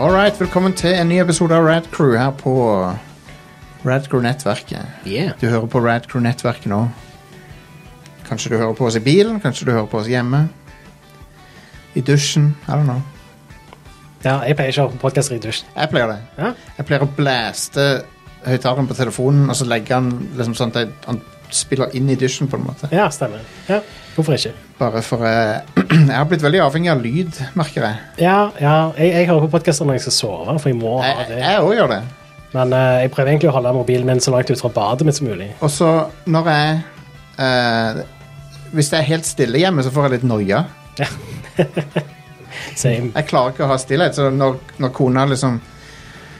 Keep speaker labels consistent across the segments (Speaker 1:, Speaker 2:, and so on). Speaker 1: Alright, velkommen til en ny episode av Rad Crew her på Rad Crew Nettverket.
Speaker 2: Yeah.
Speaker 1: Du hører på Rad Crew Nettverket nå. Kanskje du hører på oss i bilen, kanskje du hører på oss hjemme. I dusjen. I don't know.
Speaker 2: Ja, jeg pleier ikke å høre på podkaster i dusjen.
Speaker 1: Jeg pleier det.
Speaker 2: Ja.
Speaker 1: Jeg pleier å blaste høyttaleren på telefonen, og så legge han liksom sånn at jeg- han spiller inn i dusjen, på en måte.
Speaker 2: ja, stemmer. Ja, hvorfor ikke?
Speaker 1: Bare for eh, Jeg har blitt veldig avhengig av lyd, merker jeg.
Speaker 2: Ja, ja jeg, jeg hører på podkaster når jeg skal sove, for jeg må ha
Speaker 1: Jeg-
Speaker 2: det.
Speaker 1: Jeg òg gjør det.
Speaker 2: Men eh, jeg prøver egentlig å holde mobilen min så langt ut fra badet mitt som mulig.
Speaker 1: Og så, når jeg eh, Hvis det er helt stille hjemme, så får jeg litt noia.
Speaker 2: Same.
Speaker 1: Jeg klarer ikke å ha stillhet, så når, når kona liksom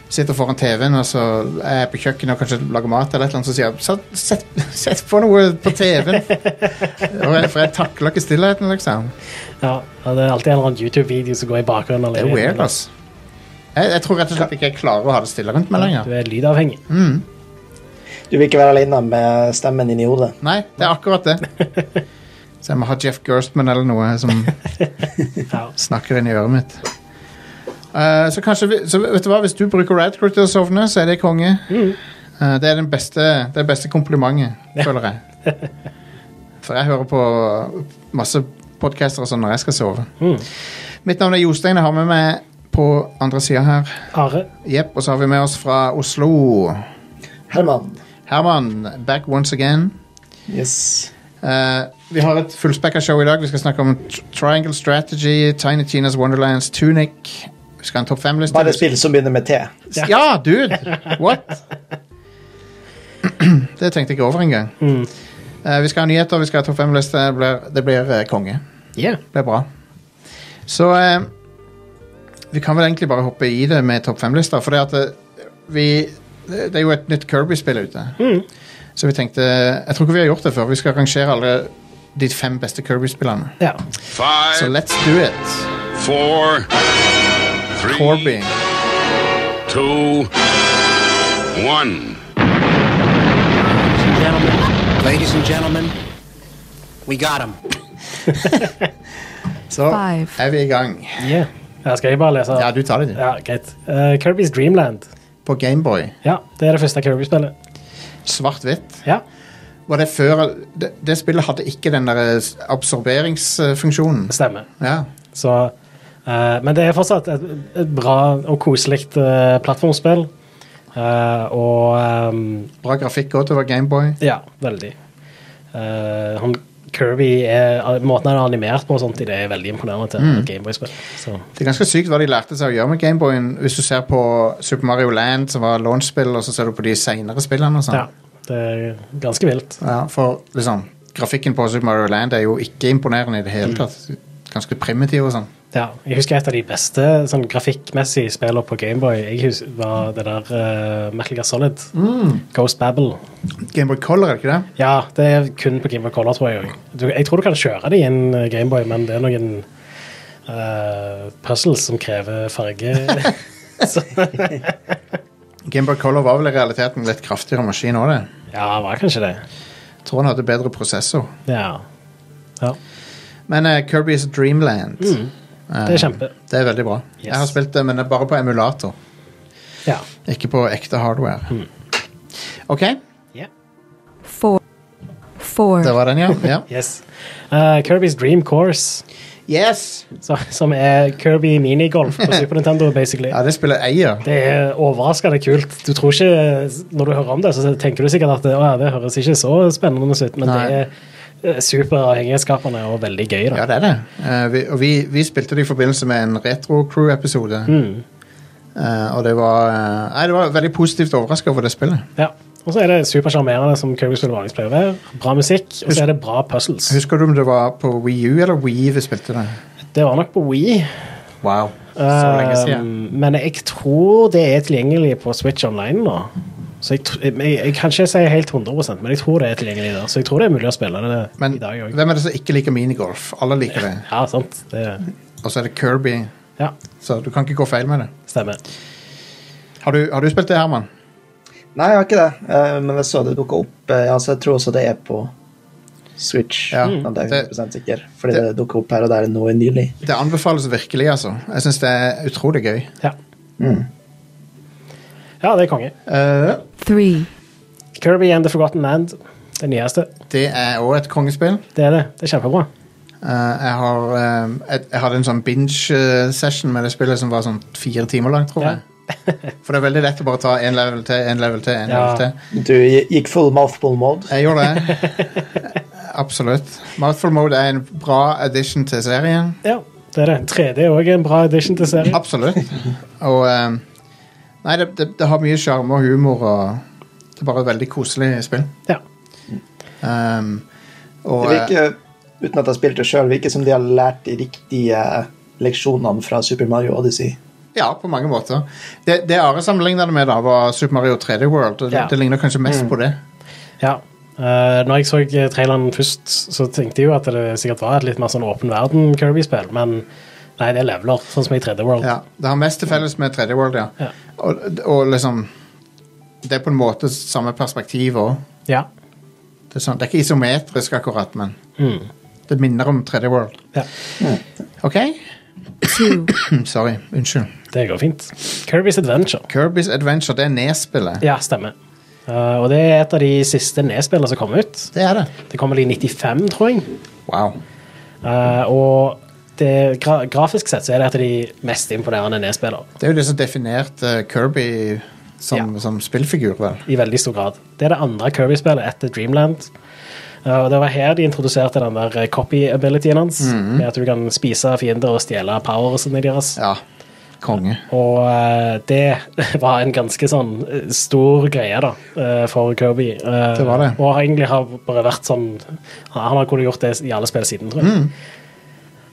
Speaker 1: sitter foran TV-en og så er jeg på kjøkkenet og kanskje lager mat, eller et eller annet, så sier jeg "Sett- sett, sett på noe på TV-en. Og jeg- For jeg takler ikke stillheten, liksom.
Speaker 2: Ja, ja, det er alltid en eller annen YouTube-video som går i bakgrunnen.
Speaker 1: Det
Speaker 2: eller-
Speaker 1: er weird, altså. ass. Jeg, jeg tror rett og slett ikke jeg klarer å ha det stille rundt meg lenger. Mm,
Speaker 2: Du er lydavhengig.
Speaker 3: Du vil ikke være alene med stemmen din i hodet.
Speaker 1: Nei, det er akkurat det. Så jeg må ha Jeff Gerstman eller noe som
Speaker 2: Ja.
Speaker 1: snakker inn i øret mitt. Eh, så kanskje vi, så vet du hva, Hvis du bruker Radcrew til å sovne, så er det konge. Eh, det er den beste, det beste komplimentet, føler jeg. For jeg hører på masse podcaster og sånn når jeg skal sove.
Speaker 2: Mm.
Speaker 1: Mitt navn er Jostein. Jeg har med meg på andre sida her.
Speaker 2: Are.
Speaker 1: Jepp, og så har vi med oss fra Oslo.
Speaker 3: Herman.
Speaker 1: Herman, back once again.
Speaker 3: Yes.
Speaker 1: Eh, vi har et fullspekka show i dag. Vi skal snakke om tr Triangle Strategy, Tiny Tinas Wonderlands, Tunic. Vi skal ha en topp fem-liste.
Speaker 3: Bare spill som begynner med T.
Speaker 1: Ja, dude! What? det tenkte jeg ikke over engang.
Speaker 2: Mm.
Speaker 1: Eh, vi skal ha nyheter, vi skal ha topp fem-liste. Det blir, det blir eh, konge.
Speaker 2: Yeah.
Speaker 1: Det blir bra. Så eh, vi kan vel egentlig bare hoppe i det med topp fem-lista, for det at eh, vi Det er jo et nytt Kirby-spill ute. Så vi tenkte Jeg tror ikke vi har gjort det før. Vi skal rangere alle de fem beste Kirby-spillene.
Speaker 2: Ja.
Speaker 1: Så
Speaker 4: Five,
Speaker 1: let's do it.
Speaker 4: four, three,
Speaker 1: Corby.
Speaker 4: two, one.
Speaker 5: Gentlemen, ladies and gentlemen, we got him.
Speaker 1: Så
Speaker 6: Five.
Speaker 1: er vi i gang.
Speaker 2: yeah. Ja, skal jeg bare lese?
Speaker 1: Ja, du tar det, du.
Speaker 2: Ja, greit. Eh, Kirby's Dreamland.
Speaker 1: På Gameboy.
Speaker 2: Ja, det er det første Kirby-spillet.
Speaker 1: Svart-hvitt.
Speaker 2: Ja.
Speaker 1: Var det før det, det spillet hadde ikke den der s- absorberingsfunksjonen.
Speaker 2: Stemmer.
Speaker 1: Ja.
Speaker 2: Så, eh, men det er fortsatt et, et bra og koselig eh, plattformspill. Eh, og ehm,
Speaker 1: Bra grafikk òg til å være Gameboy.
Speaker 2: ja, veldig. Eh, han, Kirby er, Måten han er animert på, og sånt, det er veldig imponerende til et Gameboy-spill. Så,
Speaker 1: Det er ganske sykt hva de lærte seg å gjøre med Gameboyen. Hvis du ser på Super Mario Land, som var launch-spill, og så ser du på de seinere spillene og sånn.
Speaker 2: ja, det er ganske vilt.
Speaker 1: Ja, for liksom, grafikken på Super Mario Land er jo ikke imponerende i det
Speaker 2: Mm.
Speaker 1: hele tatt. Ganske primitiv og sånn.
Speaker 2: Ja, jeg husker et av de beste sånn, grafikkmessige spillene på Gameboy. Jeg husker var det der uh, Metal Gear Solid. Ghost Babble.
Speaker 1: Gameboy Color, er det ikke det?
Speaker 2: Ja, det er kun på Gameboy Color, tror jeg. også. Du, jeg tror du kan kjøre det i en eh, Gameboy, men det er noen eh, puzzles som krever farge. Så,
Speaker 1: Gameboy Color var vel i realiteten litt kraftigere maskin òg, det.
Speaker 2: ja, det var kanskje det.
Speaker 1: Tror han hadde bedre prosessor.
Speaker 2: Ja. ja.
Speaker 1: Men eh, Kirby's Dreamland
Speaker 2: Mm.
Speaker 1: eh,
Speaker 2: Det er kjempe.
Speaker 1: Det er veldig bra. Jeg har spilt det, men det er bare på emulator.
Speaker 2: Ja.
Speaker 1: Ikke på ekte hardware.
Speaker 2: Mm.
Speaker 1: OK,
Speaker 6: four, four,
Speaker 1: det var den, ja. ja.
Speaker 2: Yes. Eh, Kirby's Dream Course,
Speaker 1: Yes!
Speaker 2: så, som er Kirby minigolf på Super Nintendo, basically.
Speaker 1: Ja, det spiller eier.
Speaker 2: Det er overraskende kult. Du tror ikke, Når du hører om det, så tenker du sikkert at det, å, ja, det høres ikke så spennende ut, men
Speaker 1: Nei.
Speaker 2: det er eh, superavhengighetsskapende og veldig gøy. da.
Speaker 1: Ja, det er det. Eh, vi, og vi, vi spilte det i forbindelse med en Retro Crew-episode.
Speaker 2: Mm.
Speaker 1: Eh, og det var eh, Nei, det var veldig positivt overraska over det spillet.
Speaker 2: Ja. Og så er det supersjarmerende, som Kirby-spill vanligvis pleier å være. Bra musikk, og så er det bra puzzles.
Speaker 1: Husker du om det var på Wii U eller Wii vi spilte det?
Speaker 2: Det var nok på Wii,
Speaker 1: Wow. Så lenge siden.
Speaker 2: um, men jeg tror det er tilgjengelig på Switch Online nå. Så jeg, tr- jeg, jeg kan ikke si helt 100 men jeg tror det er tilgjengelig der. Så jeg tror det er mulig å spille det
Speaker 1: Men
Speaker 2: i dag òg.
Speaker 1: hvem er det som ikke liker minigolf? Alle liker det.
Speaker 2: Ja, sant. Det,
Speaker 1: Og så er det Kirby,
Speaker 2: ja,
Speaker 1: så du kan ikke gå feil med det.
Speaker 2: stemmer.
Speaker 1: Har du, har du spilt det, Herman?
Speaker 3: Nei, jeg har ikke det, Eh, men jeg så det dukka opp. Eh, Ja, så jeg tror også det er på Switch.
Speaker 1: Ja,
Speaker 2: Mm.
Speaker 3: men det er jeg
Speaker 1: det-
Speaker 3: 100 sikker. Fordi det, dukket opp her og der nå nylig.
Speaker 1: Det anbefales virkelig, altså. Jeg syns det er utrolig gøy.
Speaker 2: Ja.
Speaker 3: Mm.
Speaker 2: Ja, det er konge. Uh.
Speaker 1: Eh,
Speaker 6: three,
Speaker 2: Kirby and The Forgotten Land. Det nyeste.
Speaker 1: det er òg et kongespill.
Speaker 2: Det er det. Det er kjempebra.
Speaker 1: Eh, jeg, har, eh, jeg, jeg hadde en sånn binge-session med det spillet som var sånn fire timer langt, tror
Speaker 2: Ja.
Speaker 1: jeg. For det er veldig lett å bare ta én level til, én level til, én
Speaker 2: Ja.
Speaker 1: level til.
Speaker 3: Du gikk full mouthful mode.
Speaker 1: Jeg gjorde det. Eh, Absolutt. Mouthful Mode er en bra addition til serien.
Speaker 2: Ja, det er det. 3D er også en bra edition til serien.
Speaker 1: Absolutt. Og ehm, Nei, det, det, det har mye sjarm og humor, og det er bare et veldig koselig spill.
Speaker 2: Ja.
Speaker 1: Ehm, og
Speaker 3: Det virker, uten at jeg spilte sjøl, virker som de har lært de riktige eh, leksjonene fra Super Mario Odyssey.
Speaker 1: eh, Ja, på mange måter. Det, det Are sammenligna det med, da, var Super Mario 3D World. Det,
Speaker 2: Ja. Mm.
Speaker 1: det ligner kanskje mest på det.
Speaker 2: ja. Eh, når jeg så eh, traileren først, så tenkte jeg jo at det sikkert var et litt mer sånn åpen verden Kirby-spill, men nei, det er leveler, sånn som i 3D World.
Speaker 1: Ja, det har mest til felles med 3D World, ja.
Speaker 2: Ja.
Speaker 1: Og, og liksom Det er på en måte samme perspektiv òg.
Speaker 2: Ja.
Speaker 1: Det, er sånn, det er ikke isometrisk akkurat, men
Speaker 2: Mm.
Speaker 1: det minner om 3D World.
Speaker 2: ja.
Speaker 1: OK?
Speaker 6: two,
Speaker 1: Sorry. Unnskyld.
Speaker 2: Det går fint. Kirby's Adventure.
Speaker 1: Kirby's Adventure, det er nedspillet.
Speaker 2: Ja, stemmer. Eh, og det er et av de siste nedspillene som kom ut.
Speaker 1: Det er det.
Speaker 2: Det kommer vel i 95, tror jeg.
Speaker 1: Wow.
Speaker 2: Eh, og det, gra grafisk sett så er det et av de mest imponerende nedspillere.
Speaker 1: Det er jo det som definerte eh, Kirby som,
Speaker 2: Ja.
Speaker 1: som spillfigur, vel.
Speaker 2: I veldig stor grad. Det er det andre Kirby-spillet etter Dreamland. Eh, og Det var her de introduserte den der copy-abilityen hans. Med at du kan spise fiender og stjele powersene deres.
Speaker 1: Ja. Konge.
Speaker 2: Og eh, det var en ganske sånn eh, stor greie da, eh, for Kirby. Eh,
Speaker 1: Det var det.
Speaker 2: Og har egentlig har bare vært sånn Han har kunnet gjort det i alle spill siden, tror jeg.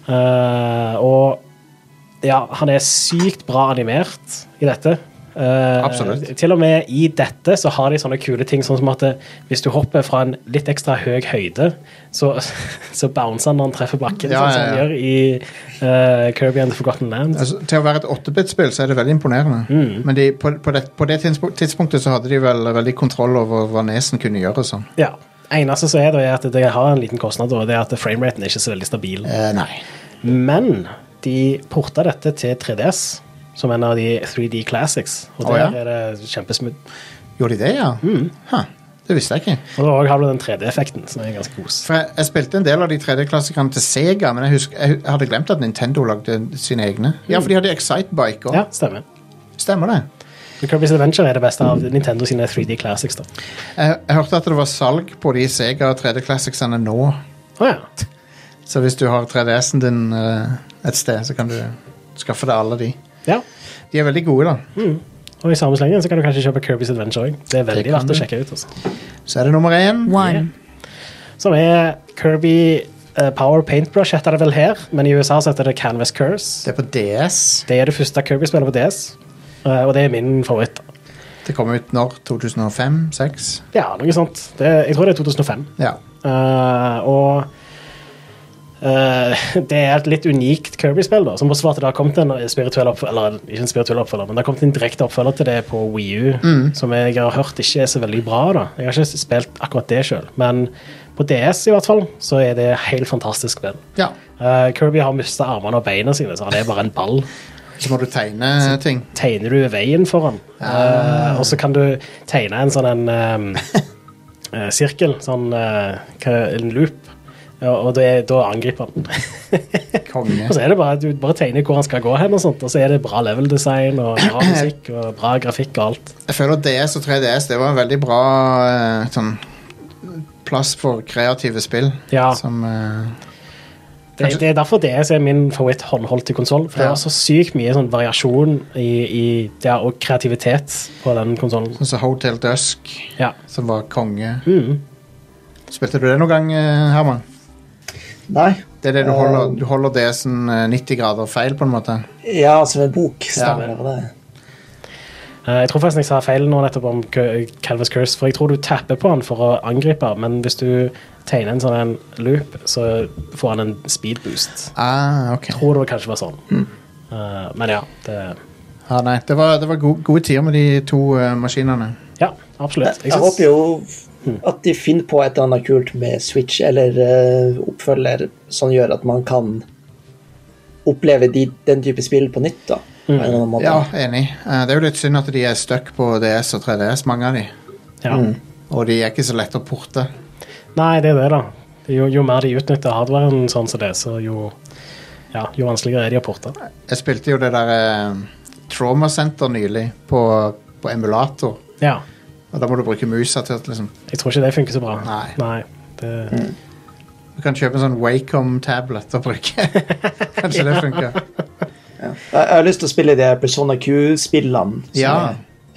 Speaker 1: Mm.
Speaker 2: Eh, og ja, han er sykt bra animert i dette. Eh,
Speaker 1: Absolutt.
Speaker 2: Til og med i dette så har de sånne kule ting sånn som at eh, hvis du hopper fra en litt ekstra høy høyde, så, så bouncer han når han treffer bakken,
Speaker 1: Ja,
Speaker 2: sånn som
Speaker 1: ja, ja.
Speaker 2: han gjør i eh, Kirby and the Forgotten Land.
Speaker 1: Altså, til å være et 8-bit-spill så er det veldig imponerende. Men de, på, på det, på det tidspunk- tidspunktet så hadde de vel veldig kontroll over hva nesen kunne gjøre. og sånn.
Speaker 2: Ja. Eneste som er, da, er at det har en liten kostnad, og det er at frameraten er ikke så veldig stabil.
Speaker 1: Eh, nei.
Speaker 2: Men de porta dette til 3DS, som en av de 3D classics, og
Speaker 1: Å,
Speaker 2: der
Speaker 1: ja.
Speaker 2: er det kjempesmooth.
Speaker 1: Gjorde de det, ja? Huh. Det visste jeg ikke.
Speaker 2: Og da har du den 3D-effekten, som er ganske kos.
Speaker 1: For jeg, jeg spilte en del av de 3D-klassikerne til Sega, men jeg, husker, jeg hu- hadde glemt at Nintendo lagde sine egne. Ja, for de hadde Excitebike òg.
Speaker 2: Ja, stemmer.
Speaker 1: Stemmer det.
Speaker 2: Men Kirby's Adventure er det beste av Nintendo sine 3D classics, da.
Speaker 1: Jeg, jeg hørte at det var salg på de Sega 3D-classicsene nå.
Speaker 2: Å ja.
Speaker 1: Så hvis du har 3DS-en din eh, et sted, så kan du skaffe deg alle de.
Speaker 2: ja.
Speaker 1: De er veldig gode, da.
Speaker 2: Og i samme slengen så kan du kanskje kjøpe Kirby's Adventure òg. Det er veldig
Speaker 1: Det kan
Speaker 2: verdt
Speaker 1: du.
Speaker 2: å sjekke ut. altså.
Speaker 1: Så er det nummer én.
Speaker 6: one,
Speaker 2: Som er Kirby eh, Power Paintbrush, heter det vel her, men i USA så heter det Canvas Curse.
Speaker 1: Det er på DS.
Speaker 2: Det er det første Kirby-spillet på DS, eh, og det er min favoritt.
Speaker 1: Det kom ut når? 2005-2006?
Speaker 2: Ja, noe sånt. Det, jeg tror det er 2005.
Speaker 1: Ja.
Speaker 2: Eh, og eh, det er et litt unikt Kirby-spill, da, som også var at det har kommet en spirituell oppfølger, eller ikke en spirituell oppfølger, men det har kommet en direkte oppfølger til det på Wii U, som jeg har hørt ikke er så veldig bra. da. Jeg har ikke spilt akkurat det sjøl, men på DS i hvert fall, så er det helt fantastisk spill.
Speaker 1: ja.
Speaker 2: Eh, Kirby har mista armene og beina sine, så han er bare en ball.
Speaker 1: Så må du tegne ting.
Speaker 2: tegner du veien foran. Eh, og så kan du tegne en sånn en ehm, eh, sirkel, sånn eh, hva- en loop, Ja, og det, da angriper han.
Speaker 1: Konge.
Speaker 2: og så er det bare at du bare tegner hvor han skal gå hen, og sånt, og så er det bra level design og bra musikk og bra grafikk og alt.
Speaker 1: Jeg føler at DS og 3DS det var en veldig bra eh, sånn, plass for kreative spill.
Speaker 2: Ja.
Speaker 1: Som, eh,
Speaker 2: Det, det er derfor DS er min favoritt håndholdt til konsoll, for det
Speaker 1: Ja.
Speaker 2: var så sykt mye sånn variasjon i, i det, og kreativitet på den konsollen.
Speaker 1: sånn som Hotel Dusk,
Speaker 2: Ja.
Speaker 1: som var konge. Spilte du det noen gang, eh, Herman?
Speaker 3: Nei.
Speaker 1: Det er det du holder,
Speaker 3: Eh,
Speaker 1: du holder DS-en eh, 90 grader feil, på en måte.
Speaker 3: Ja, som en bok. Stemmer det var det.
Speaker 2: Eh, Jeg tror forresten jeg sa feil nå nettopp om Cu- Calvus Curse, for jeg tror du tapper på han for å angripe, men hvis du tegner en sånn en loop, så får han en speed boost.
Speaker 1: Ah, ok.
Speaker 2: Jeg tror det kanskje var sånn.
Speaker 3: Mm.
Speaker 2: Eh, men ja, det
Speaker 1: Ja, Ah, nei, det var, det var go gode tider med de to eh, maskinene.
Speaker 2: Ja, absolutt.
Speaker 3: Jeg håper jo at de finner på et eller annet kult med Switch eller eh, oppfølger som gjør at man kan oppleve de, den type spill på nytt. da. på en eller annen måte.
Speaker 1: Ja, enig. Eh, det er jo litt synd at de er stuck på DS og 3DS, mange av de.
Speaker 2: Ja.
Speaker 3: Mm.
Speaker 1: Og de er ikke så lette å porte.
Speaker 2: Nei, det er det, da. Det er Jo, jo mer de utnytter hardwaren sånn som det, så jo, ja, jo vanskeligere er de å porte.
Speaker 1: Jeg spilte jo det der eh, Trauma Center nylig på, på emulator.
Speaker 2: Ja.
Speaker 1: Og da må du bruke musa til at liksom
Speaker 2: Jeg tror ikke det funker så bra.
Speaker 1: Nei.
Speaker 2: det,
Speaker 3: Mm.
Speaker 1: Du kan kjøpe en sånn Wacom-tablet og bruke. Kanskje det funker.
Speaker 3: Jeg, jeg har lyst til å spille de Persona Q-spillene. som
Speaker 1: Ja.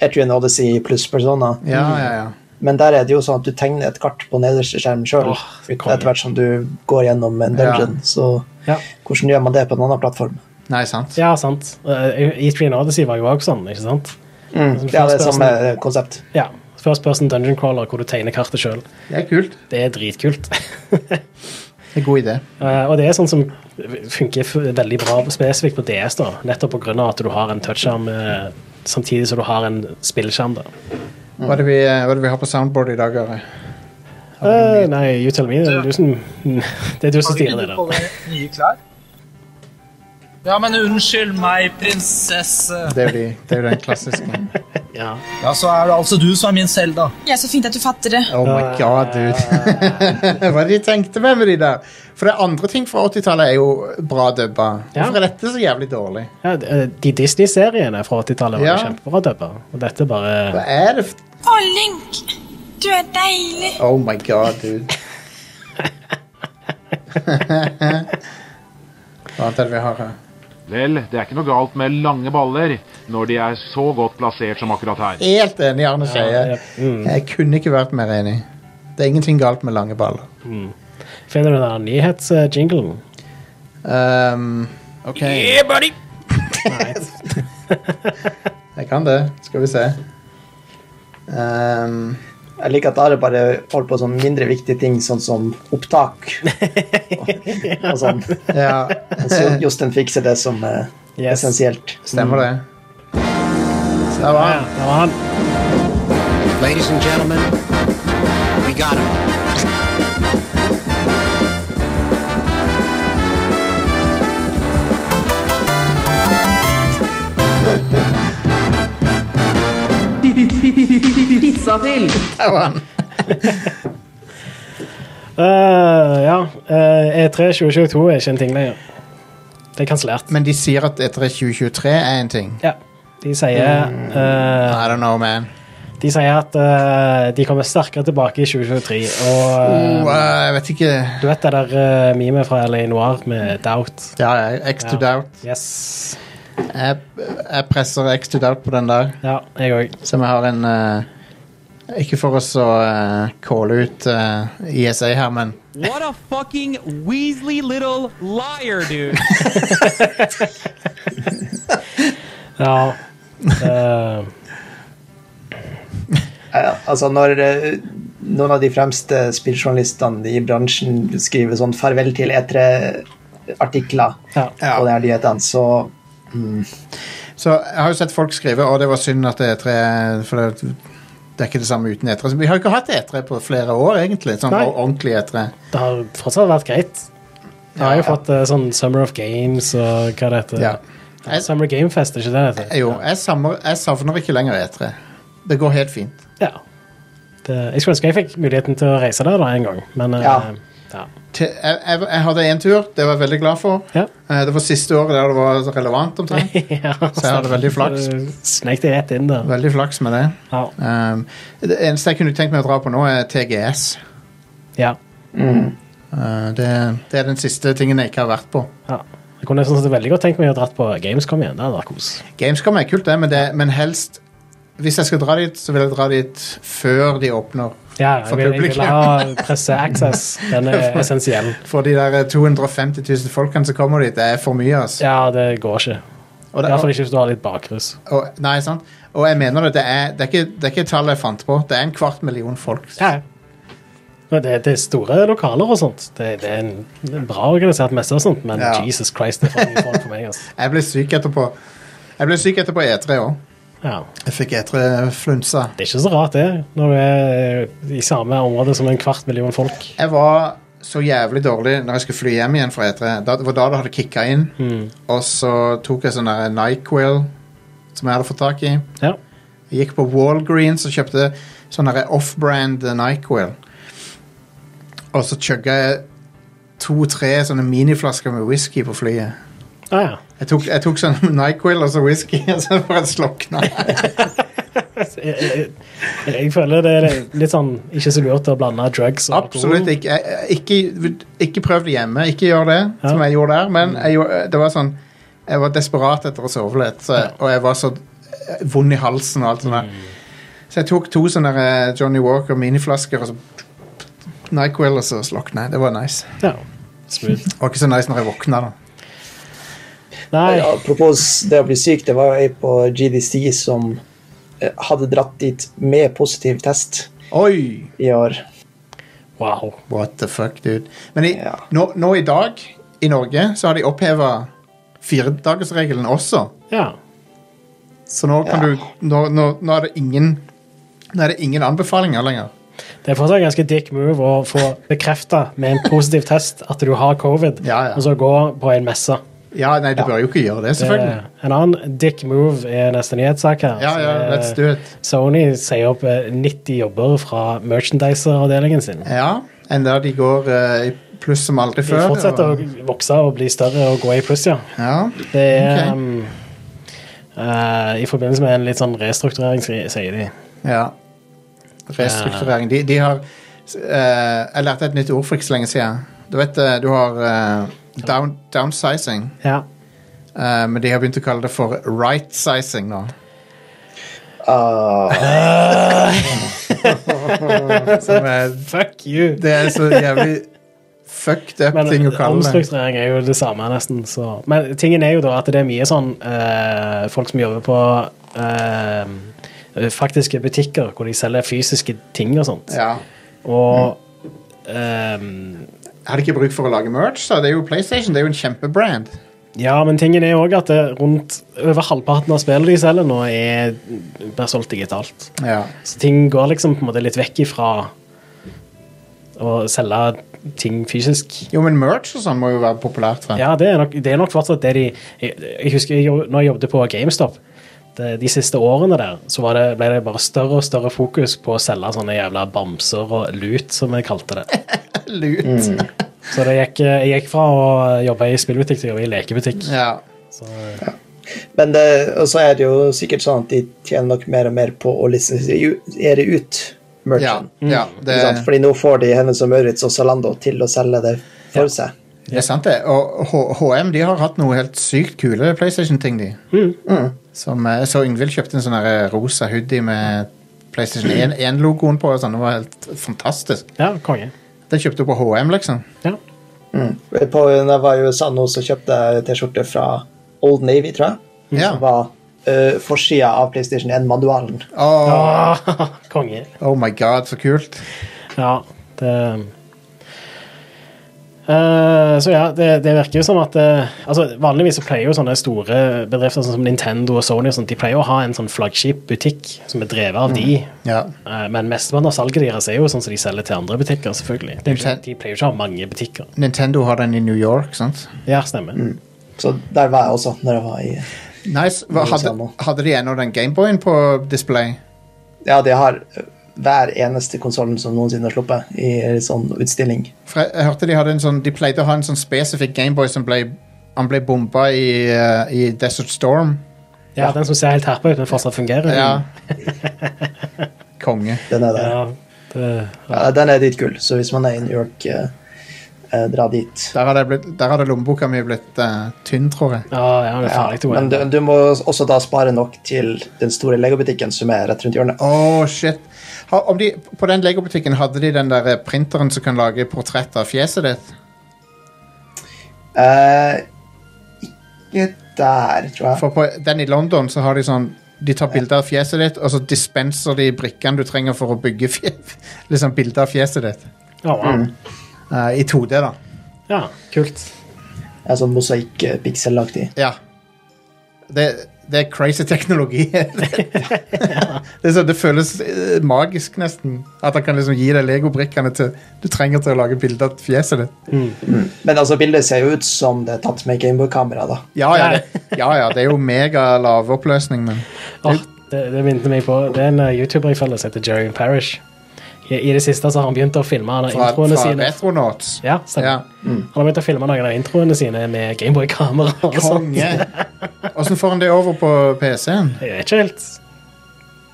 Speaker 3: er Etrian Odyssey pluss Persona.
Speaker 1: Ja, ja, ja.
Speaker 3: Men der er det jo sånn at du tegner et kart på nederste skjerm sjøl.
Speaker 2: Åh, det kommer.
Speaker 3: etter hvert som du går gjennom en dungeon. Så
Speaker 2: Ja.
Speaker 3: hvordan gjør man det på en annen plattform?
Speaker 1: Nei, sant?
Speaker 2: ja, sant. Eh, I Treen Odyssey var jo også sånn, ikke sant?
Speaker 3: Mm. Ja, det er samme konsept.
Speaker 2: Ja. First person dungeon crawler hvor du tegner kartet sjøl.
Speaker 1: Det er kult.
Speaker 2: Det er dritkult.
Speaker 1: Det er en god idé.
Speaker 2: Eh, og det er sånn som funker f- veldig bra spesifikt på DS, da. nettopp pga. at du har en touchskjerm eh, samtidig som du har en spillskjerm. da.
Speaker 1: Hva er det vi, eh, hva er det vi har på soundboard i dag, Are?
Speaker 2: Eh, nei, you tell me. Det er du som, det er du som styrer det. der.
Speaker 7: Har du ikke på deg nye klær? Ja, men unnskyld meg, prinsesse.
Speaker 1: Det er jo, de, det er jo den klassiske.
Speaker 2: Ja.
Speaker 7: Ja, så er det altså du som er min Selda.
Speaker 8: Ja, så fint at du fatter det.
Speaker 1: Oh my god, dude. Hva er det de tenkte med, med de der? For det andre ting fra 80-tallet er jo bra dubba.
Speaker 2: Ja.
Speaker 1: Hvorfor er dette så jævlig dårlig?
Speaker 2: Ja, de de Disney-seriene fra 80-tallet
Speaker 1: Ja.
Speaker 2: var jo kjempebra dubba. Og dette bare
Speaker 1: Hva er det f...
Speaker 8: Å, Link! Du er deilig!
Speaker 1: Oh my god, dude. Hva annet er det vi har her?
Speaker 9: Vel, det er ikke noe galt med lange baller når de er så godt plassert som akkurat her.
Speaker 1: Helt enig, Arne Skeie. Jeg kunne ikke vært mer enig. Det er ingenting galt med lange baller.
Speaker 2: Finner du den der nyhetsjinglen?
Speaker 1: Ehm, ok. Jeg kan det. Skal vi se. Ehm,
Speaker 3: Jeg liker at Are bare holder på sånn mindre viktige ting, sånn som opptak. og, og sånn.
Speaker 1: ja,
Speaker 3: Og så Jostein fikser det som eh,
Speaker 2: Yes.
Speaker 3: essensielt.
Speaker 1: stemmer
Speaker 2: Mm.
Speaker 1: det. Der var
Speaker 2: Ja,
Speaker 1: han.
Speaker 2: det var han.
Speaker 5: Ladies and gentlemen, we got him.
Speaker 1: Der var han.
Speaker 2: Eh, ja. eh, E3 2022 er ikke en ting lenger. Det er kansellert.
Speaker 1: Men de sier at E etter 2023 er en ting.
Speaker 2: Ja. De sier,
Speaker 1: Mm.
Speaker 2: eh,
Speaker 1: I don't know, man.
Speaker 2: de sier at eh, de kommer sterkere tilbake i 2023. Og eh,
Speaker 1: Oh, eh, jeg vet ikke
Speaker 2: du vet det der eh, memet fra LA Noir med Doubt?
Speaker 1: Ja, ja, X to
Speaker 2: Ja.
Speaker 1: doubt.
Speaker 2: Yes.
Speaker 1: Jeg, jeg presser X to doubt på den der.
Speaker 2: Ja, jeg òg.
Speaker 1: Som jeg har en eh, Ikke for oss å eh, calle ut eh, ISA her, men
Speaker 10: What a fucking Weasley little liar, dude.
Speaker 2: Ja. Eh,
Speaker 3: Ja, altså når eh, noen av de fremste spilljournalistene i bransjen skriver sånn 'farvel til E3'-artikler
Speaker 2: ja.
Speaker 3: på de her nyhetene, så
Speaker 1: Så jeg har jo sett folk skrive Å, det var synd at E3 For det, det er ikke det samme uten E3 Så Vi har jo ikke hatt E3 på flere år egentlig Sånn
Speaker 2: Nei.
Speaker 1: ordentlig E3
Speaker 2: Det har fortsatt vært greit. Jeg har jo
Speaker 1: Ja.
Speaker 2: fått eh, sånn Summer of Games og hva det heter.
Speaker 1: Ja.
Speaker 2: Summer Gamefest, er ikke det det heter?
Speaker 1: Eh, Jo, jeg, savner, jeg savner ikke lenger E3 Det går helt fint
Speaker 2: Ja. Det, jeg skulle ønske jeg fikk muligheten til å reise der da en gang, men eh,
Speaker 3: Ja.
Speaker 2: ja.
Speaker 1: Til- jeg, jeg, jeg hadde en tur, det var jeg veldig glad for
Speaker 2: Ja.
Speaker 1: Eh, Det var siste året der det var relevant omtrent
Speaker 2: ja.
Speaker 1: Så jeg hadde veldig flaks
Speaker 2: Snek deg rett inn der.
Speaker 1: Veldig flaks med det
Speaker 2: Ja.
Speaker 1: um, Det eneste jeg kunne tenkt meg å dra på nå er TGS
Speaker 2: ja.
Speaker 1: Eh, det, det er den siste tingen jeg ikke har vært på
Speaker 2: ja. Jeg kunne sånn sett veldig godt tenkt meg å dratt på Gamescom igjen. Det hadde vært kos.
Speaker 1: Gamescom er kult, det, men, det, men helst Hvis jeg skal dra dit, så vil jeg dra dit før de åpner.
Speaker 2: Ja,
Speaker 1: For
Speaker 2: jeg vil, jeg vil
Speaker 1: publikum.
Speaker 2: ha presseaccess. Den er essensiell.
Speaker 1: For de der 250 000 folkene som kommer dit, det er for mye. ass.
Speaker 2: Ja, det går ikke.
Speaker 1: og, det,
Speaker 2: Iallfall
Speaker 1: og,
Speaker 2: ikke hvis du har litt bakrus.
Speaker 1: og, nei, sant? og jeg mener det, det er, det, er ikke, det er ikke et tall jeg fant på. Det er en kvart million folk.
Speaker 2: Ja. ja. Men det, det er store lokaler og sånt. Det, det er en, en bra organisert messe og sånt, men
Speaker 1: Ja.
Speaker 2: Jesus Christ, det er for mye folk for meg, altså.
Speaker 1: Jeg ble syk etterpå. Jeg ble syk etterpå E3 òg.
Speaker 2: Ja.
Speaker 1: Jeg fikk E E3-flunsa.
Speaker 2: eh, Det er ikke så rart, det, når du er i samme område som en kvart million folk.
Speaker 1: Jeg var så jævlig dårlig når jeg skulle fly hjem igjen fra E3. Da, det var da det hadde kicka inn. Og så tok jeg sånn der Nyquil som jeg hadde fått tak i.
Speaker 2: Ja.
Speaker 1: Jeg gikk på Walgreens og kjøpte sånn der off-brand eh, Nyquil. Og så chugga jeg to-tre sånne miniflasker med whisky på flyet.
Speaker 2: Ah, ja.
Speaker 1: Jeg tok, jeg tok sånn Nyquil og så whisky, og så bare slokna jeg.
Speaker 2: Jeg, jeg, jeg føler det er litt sånn ikke så lurt å blande drugs og
Speaker 1: Absolutt
Speaker 2: alkohol.
Speaker 1: ikke. Jeg- jeg- Ikke, ikke prøv det hjemme. Ikke gjør det som
Speaker 2: Ja.
Speaker 1: jeg gjorde der. Men jeg, gjorde- det var sånn Jeg var desperat etter å sove litt, så, og jeg var så eh, vond i halsen og alt sånt. der. Så jeg tok to sånne eh, Johnny Walker miniflasker og så Nyquil, og så slokna jeg. Det var nice.
Speaker 2: Ja. Smooth.
Speaker 1: Det var ikke så nice når jeg våkna, da.
Speaker 2: Nei,
Speaker 3: Ja, eh, Apropos det å bli syk, det var jo ei på GDC som eh, hadde dratt dit med positiv test
Speaker 1: Oi!
Speaker 3: i år.
Speaker 2: wow.
Speaker 1: What the fuck, dude. Men i,
Speaker 3: Ja.
Speaker 1: nå, nå i dag, i Norge, så har de oppheva firedagersregelen også.
Speaker 2: Ja.
Speaker 1: Så nå kan
Speaker 3: Ja.
Speaker 1: du nå, nå, nå er det ingen Nå er det ingen anbefalinger lenger.
Speaker 2: Det er fortsatt en ganske dick move å få bekrefta med en positiv test at du har covid,
Speaker 1: Ja, ja.
Speaker 2: og så gå på en messe.
Speaker 1: Ja, nei, du bør jo ikke gjøre det,
Speaker 2: Det,
Speaker 1: selvfølgelig.
Speaker 2: en annen dick move er neste nyhetssak her.
Speaker 1: Ja,
Speaker 2: som
Speaker 1: ja,
Speaker 2: er-
Speaker 1: let's do it.
Speaker 2: Sony sier opp eh, 90 jobber fra merchandiser-avdelingen sin.
Speaker 1: Ja, Enda de går eh, i pluss som aldri
Speaker 2: De
Speaker 1: før.
Speaker 2: fortsetter
Speaker 1: og-
Speaker 2: å vokse og bli større og gå i pluss, ja.
Speaker 1: Ja,
Speaker 2: Det er
Speaker 1: Ok.
Speaker 2: um, eh, I forbindelse med en litt sånn restrukturering, sier sier de.
Speaker 1: ja. Restrukturering. De, de har eh, Jeg lærte et nytt ord for ikke så lenge siden. Du vet, eh, du har eh, down, downsizing,
Speaker 2: Ja.
Speaker 1: eh, men de har begynt å kalle det for right-sizing nå.
Speaker 3: Ah,
Speaker 1: Som er,
Speaker 2: Fuck you!
Speaker 1: det er så jævlig fucked up
Speaker 2: Men
Speaker 1: ting å kalle det.
Speaker 2: omstrukturering er jo det samme, nesten. Så. Men tingen er jo da at det er mye sånn eh, folk som jobber på eh, faktiske butikker, hvor de selger fysiske ting og sånt.
Speaker 1: Ja.
Speaker 2: Og eh,
Speaker 1: Jeg hadde ikke bruk for å lage merch, da. Det er jo PlayStation, det er jo en kjempebrand.
Speaker 2: Ja, men tingen er jo òg at det rundt over halvparten av spillene de selger nå, er blir solgt digitalt.
Speaker 1: Ja.
Speaker 2: Så ting går liksom på en måte litt vekk ifra å selge ting fysisk.
Speaker 1: Jo, men merch og sånn må jo være populært. Vet.
Speaker 2: Ja, det er nok, det er nok fortsatt det de Jeg, jeg husker jeg, jobb- når jeg jobbet på GameStop det, de siste årene der, så var det, ble det bare større og større fokus på å selge sånne jævla bamser og lut, som jeg kalte det.
Speaker 1: Lut.
Speaker 2: Så det gikk, eh, jeg gikk fra å jobbe i spillbutikk til å jobbe i lekebutikk.
Speaker 1: Ja.
Speaker 2: Så, eh,
Speaker 3: Men det, og så er det jo sikkert sånn at de tjener nok mer og mer på å lisensiere ut
Speaker 1: Ja,
Speaker 3: merchant.
Speaker 1: ja, Mm. det,
Speaker 3: Ikke sant? Fordi nå får de Hennes og Maurits og Zalando til å selge det for seg.
Speaker 1: det er sant, det. Og H- HM de har hatt noe helt sykt kule PlayStation-ting, de. Som, eh, jeg så Yngvild kjøpte en sånn her, eh, rosa hoodie med PlayStation 1-logoen på. Og sånn. Det var helt fantastisk.
Speaker 2: ja, konge.
Speaker 1: Den kjøpte hun på HM, liksom.
Speaker 2: Ja.
Speaker 3: Mm. På, når jeg var i USA nå, så kjøpte jeg T-skjorte fra Old Navy, tror jeg.
Speaker 1: Mm. Ja.
Speaker 3: Som var uh, forsida av PlayStation 1-manualen.
Speaker 1: Åh,
Speaker 2: Ah, konge.
Speaker 1: oh my god, så kult.
Speaker 2: Ja, det Eh, så ja, det, det virker jo som at eh, altså Vanligvis så pleier jo sånne store bedrifter sånn som Nintendo og Sony og sånt, de pleier å ha en sånn flaggskipbutikk som er drevet av de.
Speaker 1: Ja.
Speaker 2: Eh, men mesteparten av salget deres er jo sånn som de selger til andre butikker. selvfølgelig. Det er jo ikke, sånn
Speaker 1: Nintendo-
Speaker 2: de pleier jo ikke å ha mange butikker.
Speaker 1: Nintendo har den i New York, sant?
Speaker 2: Ja, stemmer.
Speaker 3: Så der var jeg også når jeg var i
Speaker 1: Nice. Hva, hadde, hadde de ennå den Gameboyen på display?
Speaker 3: Ja, de har eh, hver eneste konsollen som noensinne har sluppet, i en sånn utstilling.
Speaker 1: For jeg, jeg hørte de hadde en sånn De pleide å ha en sånn spesifikk Gameboy som ble Han ble bomba i, eh, i Desert Storm.
Speaker 2: Ja, Den som ser helt herpa ut, men fortsatt fungerer.
Speaker 1: Ja. Konge.
Speaker 3: Den er der.
Speaker 2: Ja, det,
Speaker 3: Ja, den er dritkul, så hvis man er i New York, eh, eh, dra dit.
Speaker 1: Der hadde, jeg blitt, der hadde lommeboka mi blitt eh, tynn, tror jeg.
Speaker 2: ja, ja, det er
Speaker 3: Ja,
Speaker 2: farlig,
Speaker 3: men du,
Speaker 2: det,
Speaker 3: du må også da spare nok til den store legobutikken som er rett rundt hjørnet.
Speaker 1: Åh, shit. Ha, om de, på den legobutikken hadde de den der eh, printeren som kan lage portrett av fjeset ditt?
Speaker 3: Eh, ikke der, tror jeg.
Speaker 1: For på den i London så har de sånn De tar bilde av fjeset ditt, og så dispenser de brikkene du trenger for å bygge fje, liksom bilde av fjeset ditt.
Speaker 2: ja, wow.
Speaker 1: Eh, I 2D, da.
Speaker 2: ja, kult.
Speaker 3: eh, Det er sånn mosaikk-pikselaktig.
Speaker 1: Ja. Det, det er crazy teknologi. det, er sånn, det føles eh, magisk, nesten. At han kan liksom gi deg legobrikkene til du trenger til å lage bilde av fjeset ditt.
Speaker 3: Men altså, bildet ser jo ut som det er tatt med Gameboy-kamera, da.
Speaker 1: Ja ja, det, ja ja, det er jo megalav oppløsning, men
Speaker 2: Åh, det, det minte meg på Det er en eh, YouTuber jeg følger som heter Jerry Parish. I, I det siste så har han begynt å filme han har
Speaker 1: fra,
Speaker 2: introene
Speaker 1: fra
Speaker 2: sine.
Speaker 1: Retronauts
Speaker 2: Ja, stemmer.
Speaker 1: Ja.
Speaker 2: Han har begynt å filme noen av introene sine med Gameboy-kamera. og sånn. sånt.
Speaker 1: Konge! Åssen får han det over på PC-en?
Speaker 2: Jeg vet ikke helt.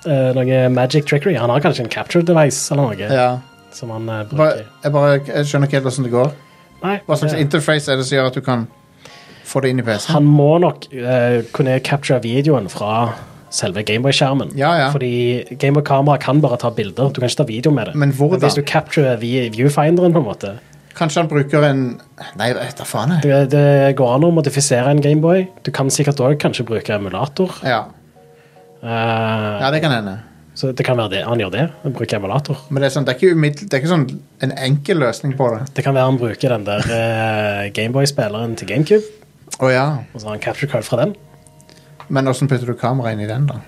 Speaker 2: Eh, noe magic trickery. Han har kanskje en capture device eller noe
Speaker 1: Ja.
Speaker 2: som han eh,
Speaker 1: Bare,
Speaker 2: bruker.
Speaker 1: jeg bare jeg skjønner ikke helt åssen det går.
Speaker 2: Nei,
Speaker 1: Hva slags
Speaker 2: det-
Speaker 1: interface er det som gjør at du kan få det inn i PC-en?
Speaker 2: han må nok eh, kunne capture videoen fra selve Gameboy-skjermen.
Speaker 1: Ja, ja.
Speaker 2: Fordi Gameboy-kamera kan bare ta bilder. Du kan ikke ta video med det.
Speaker 1: Men hvordan?
Speaker 2: Hvis du capturer via viewfinderen, på en måte
Speaker 1: Kanskje han bruker en Nei, vet da faen. jeg.
Speaker 2: det, det går an å modifisere en Gameboy. Du kan sikkert òg kanskje bruke emulator.
Speaker 1: Ja.
Speaker 2: Eh,
Speaker 1: ja, det kan hende.
Speaker 2: Så det kan være det. han gjør det. Han bruker emulator.
Speaker 1: Men det er, sånn, det er ikke, umiddel, det er ikke sånn en enkel løsning på det.
Speaker 2: Det kan være han bruker den der eh, Gameboy-spilleren til GameCube,
Speaker 1: Å ja.
Speaker 2: og så har han capture card fra den.
Speaker 1: Men åssen putter du kamera inn i den, da?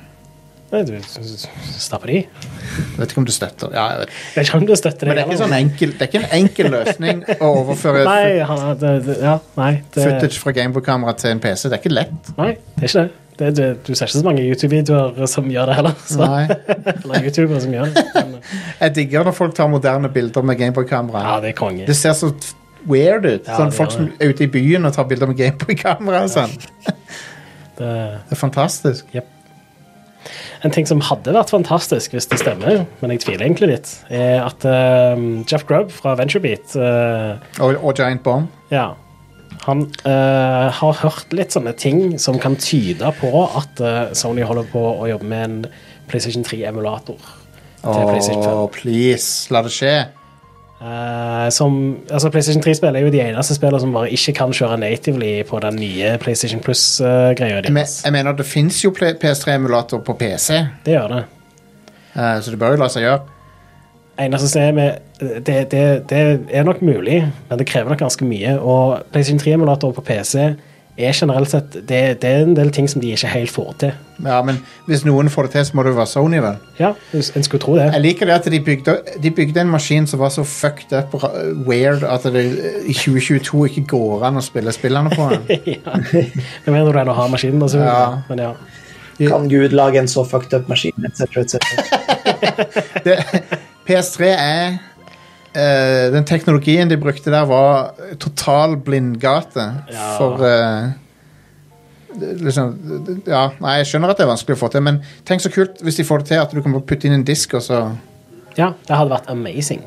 Speaker 2: Nei, du s- s- stapper de. i.
Speaker 1: Jeg vet ikke om du støtter ja, jeg vet.
Speaker 2: Jeg vet ikke om du støtter
Speaker 1: Men det er ikke, sånn enkel, det er ikke en enkel løsning å overføre
Speaker 2: Nei,
Speaker 1: fu-
Speaker 2: han, det, det, ja, nei, det,
Speaker 1: footage fra Gameboy-kamera til en PC. Det er ikke lett.
Speaker 2: nei, det er ikke det. det du, du ser ikke så mange YouTube-videoer som gjør det heller. Så.
Speaker 1: Nei.
Speaker 2: Eller YouTubere som gjør det. Men,
Speaker 1: Jeg digger når folk tar moderne bilder med Gameboy-kamera.
Speaker 2: ja, det er konge.
Speaker 1: Det ser så f- weird ut.
Speaker 2: Ja,
Speaker 1: sånn,
Speaker 2: det
Speaker 1: folk
Speaker 2: gjør
Speaker 1: som er ute i byen og tar bilder med Gameboy-kamera. og Sånn.
Speaker 2: Det,
Speaker 1: Det er fantastisk.
Speaker 2: en ting som hadde vært fantastisk, hvis det stemmer, men jeg tviler egentlig litt, er at eh, Jeff Grubb fra VentureBeat eh,
Speaker 1: Og, og Giant Bomb.
Speaker 2: Ja. Han eh, har hørt litt sånne ting som kan tyde på at eh, Sony holder på å jobbe med en PlayStation 3-emulator. til PlayStation 5.
Speaker 1: Åh, please, la det skje.
Speaker 2: Eh, som, altså PlayStation 3-spill er jo de eneste spillene som bare ikke kan kjøre natively på den nye PlayStation Plus-greia
Speaker 1: Jeg, me-
Speaker 2: deres.
Speaker 1: jeg mener, det fins jo ple- PS3-emulator på PC,
Speaker 2: Det gjør det.
Speaker 1: eh, så det bør jo la seg gjøre.
Speaker 2: Eneste som er med- det, det, det er nok mulig, men det krever nok ganske mye. Og PlayStation 3-emulator på PC er generelt sett det, det er en del ting som de ikke helt får til.
Speaker 1: Ja, Men hvis noen får det til, så må det jo være Sony, vel.
Speaker 2: Ja, en skulle tro det.
Speaker 1: Jeg liker det at de bygde, de bygde en maskin som var så fucked up ra- weird at det i 2022 ikke går an å spille spillene på den.
Speaker 2: ja. Jeg mener du er en å ha maskinen, da, selvfølgelig.
Speaker 1: Ja.
Speaker 2: Men ja.
Speaker 3: Kan Gud lage en så fucked up maskin, etc., etc.?
Speaker 1: Det, PS3 er eh, Den teknologien de brukte der, var total blindgate
Speaker 2: Ja.
Speaker 1: for eh, det- Liksom Ja, nei, jeg skjønner at det er vanskelig å få til, men tenk så kult hvis de får det til at du kan bare putte inn en disk, og så
Speaker 2: ja, det hadde vært amazing.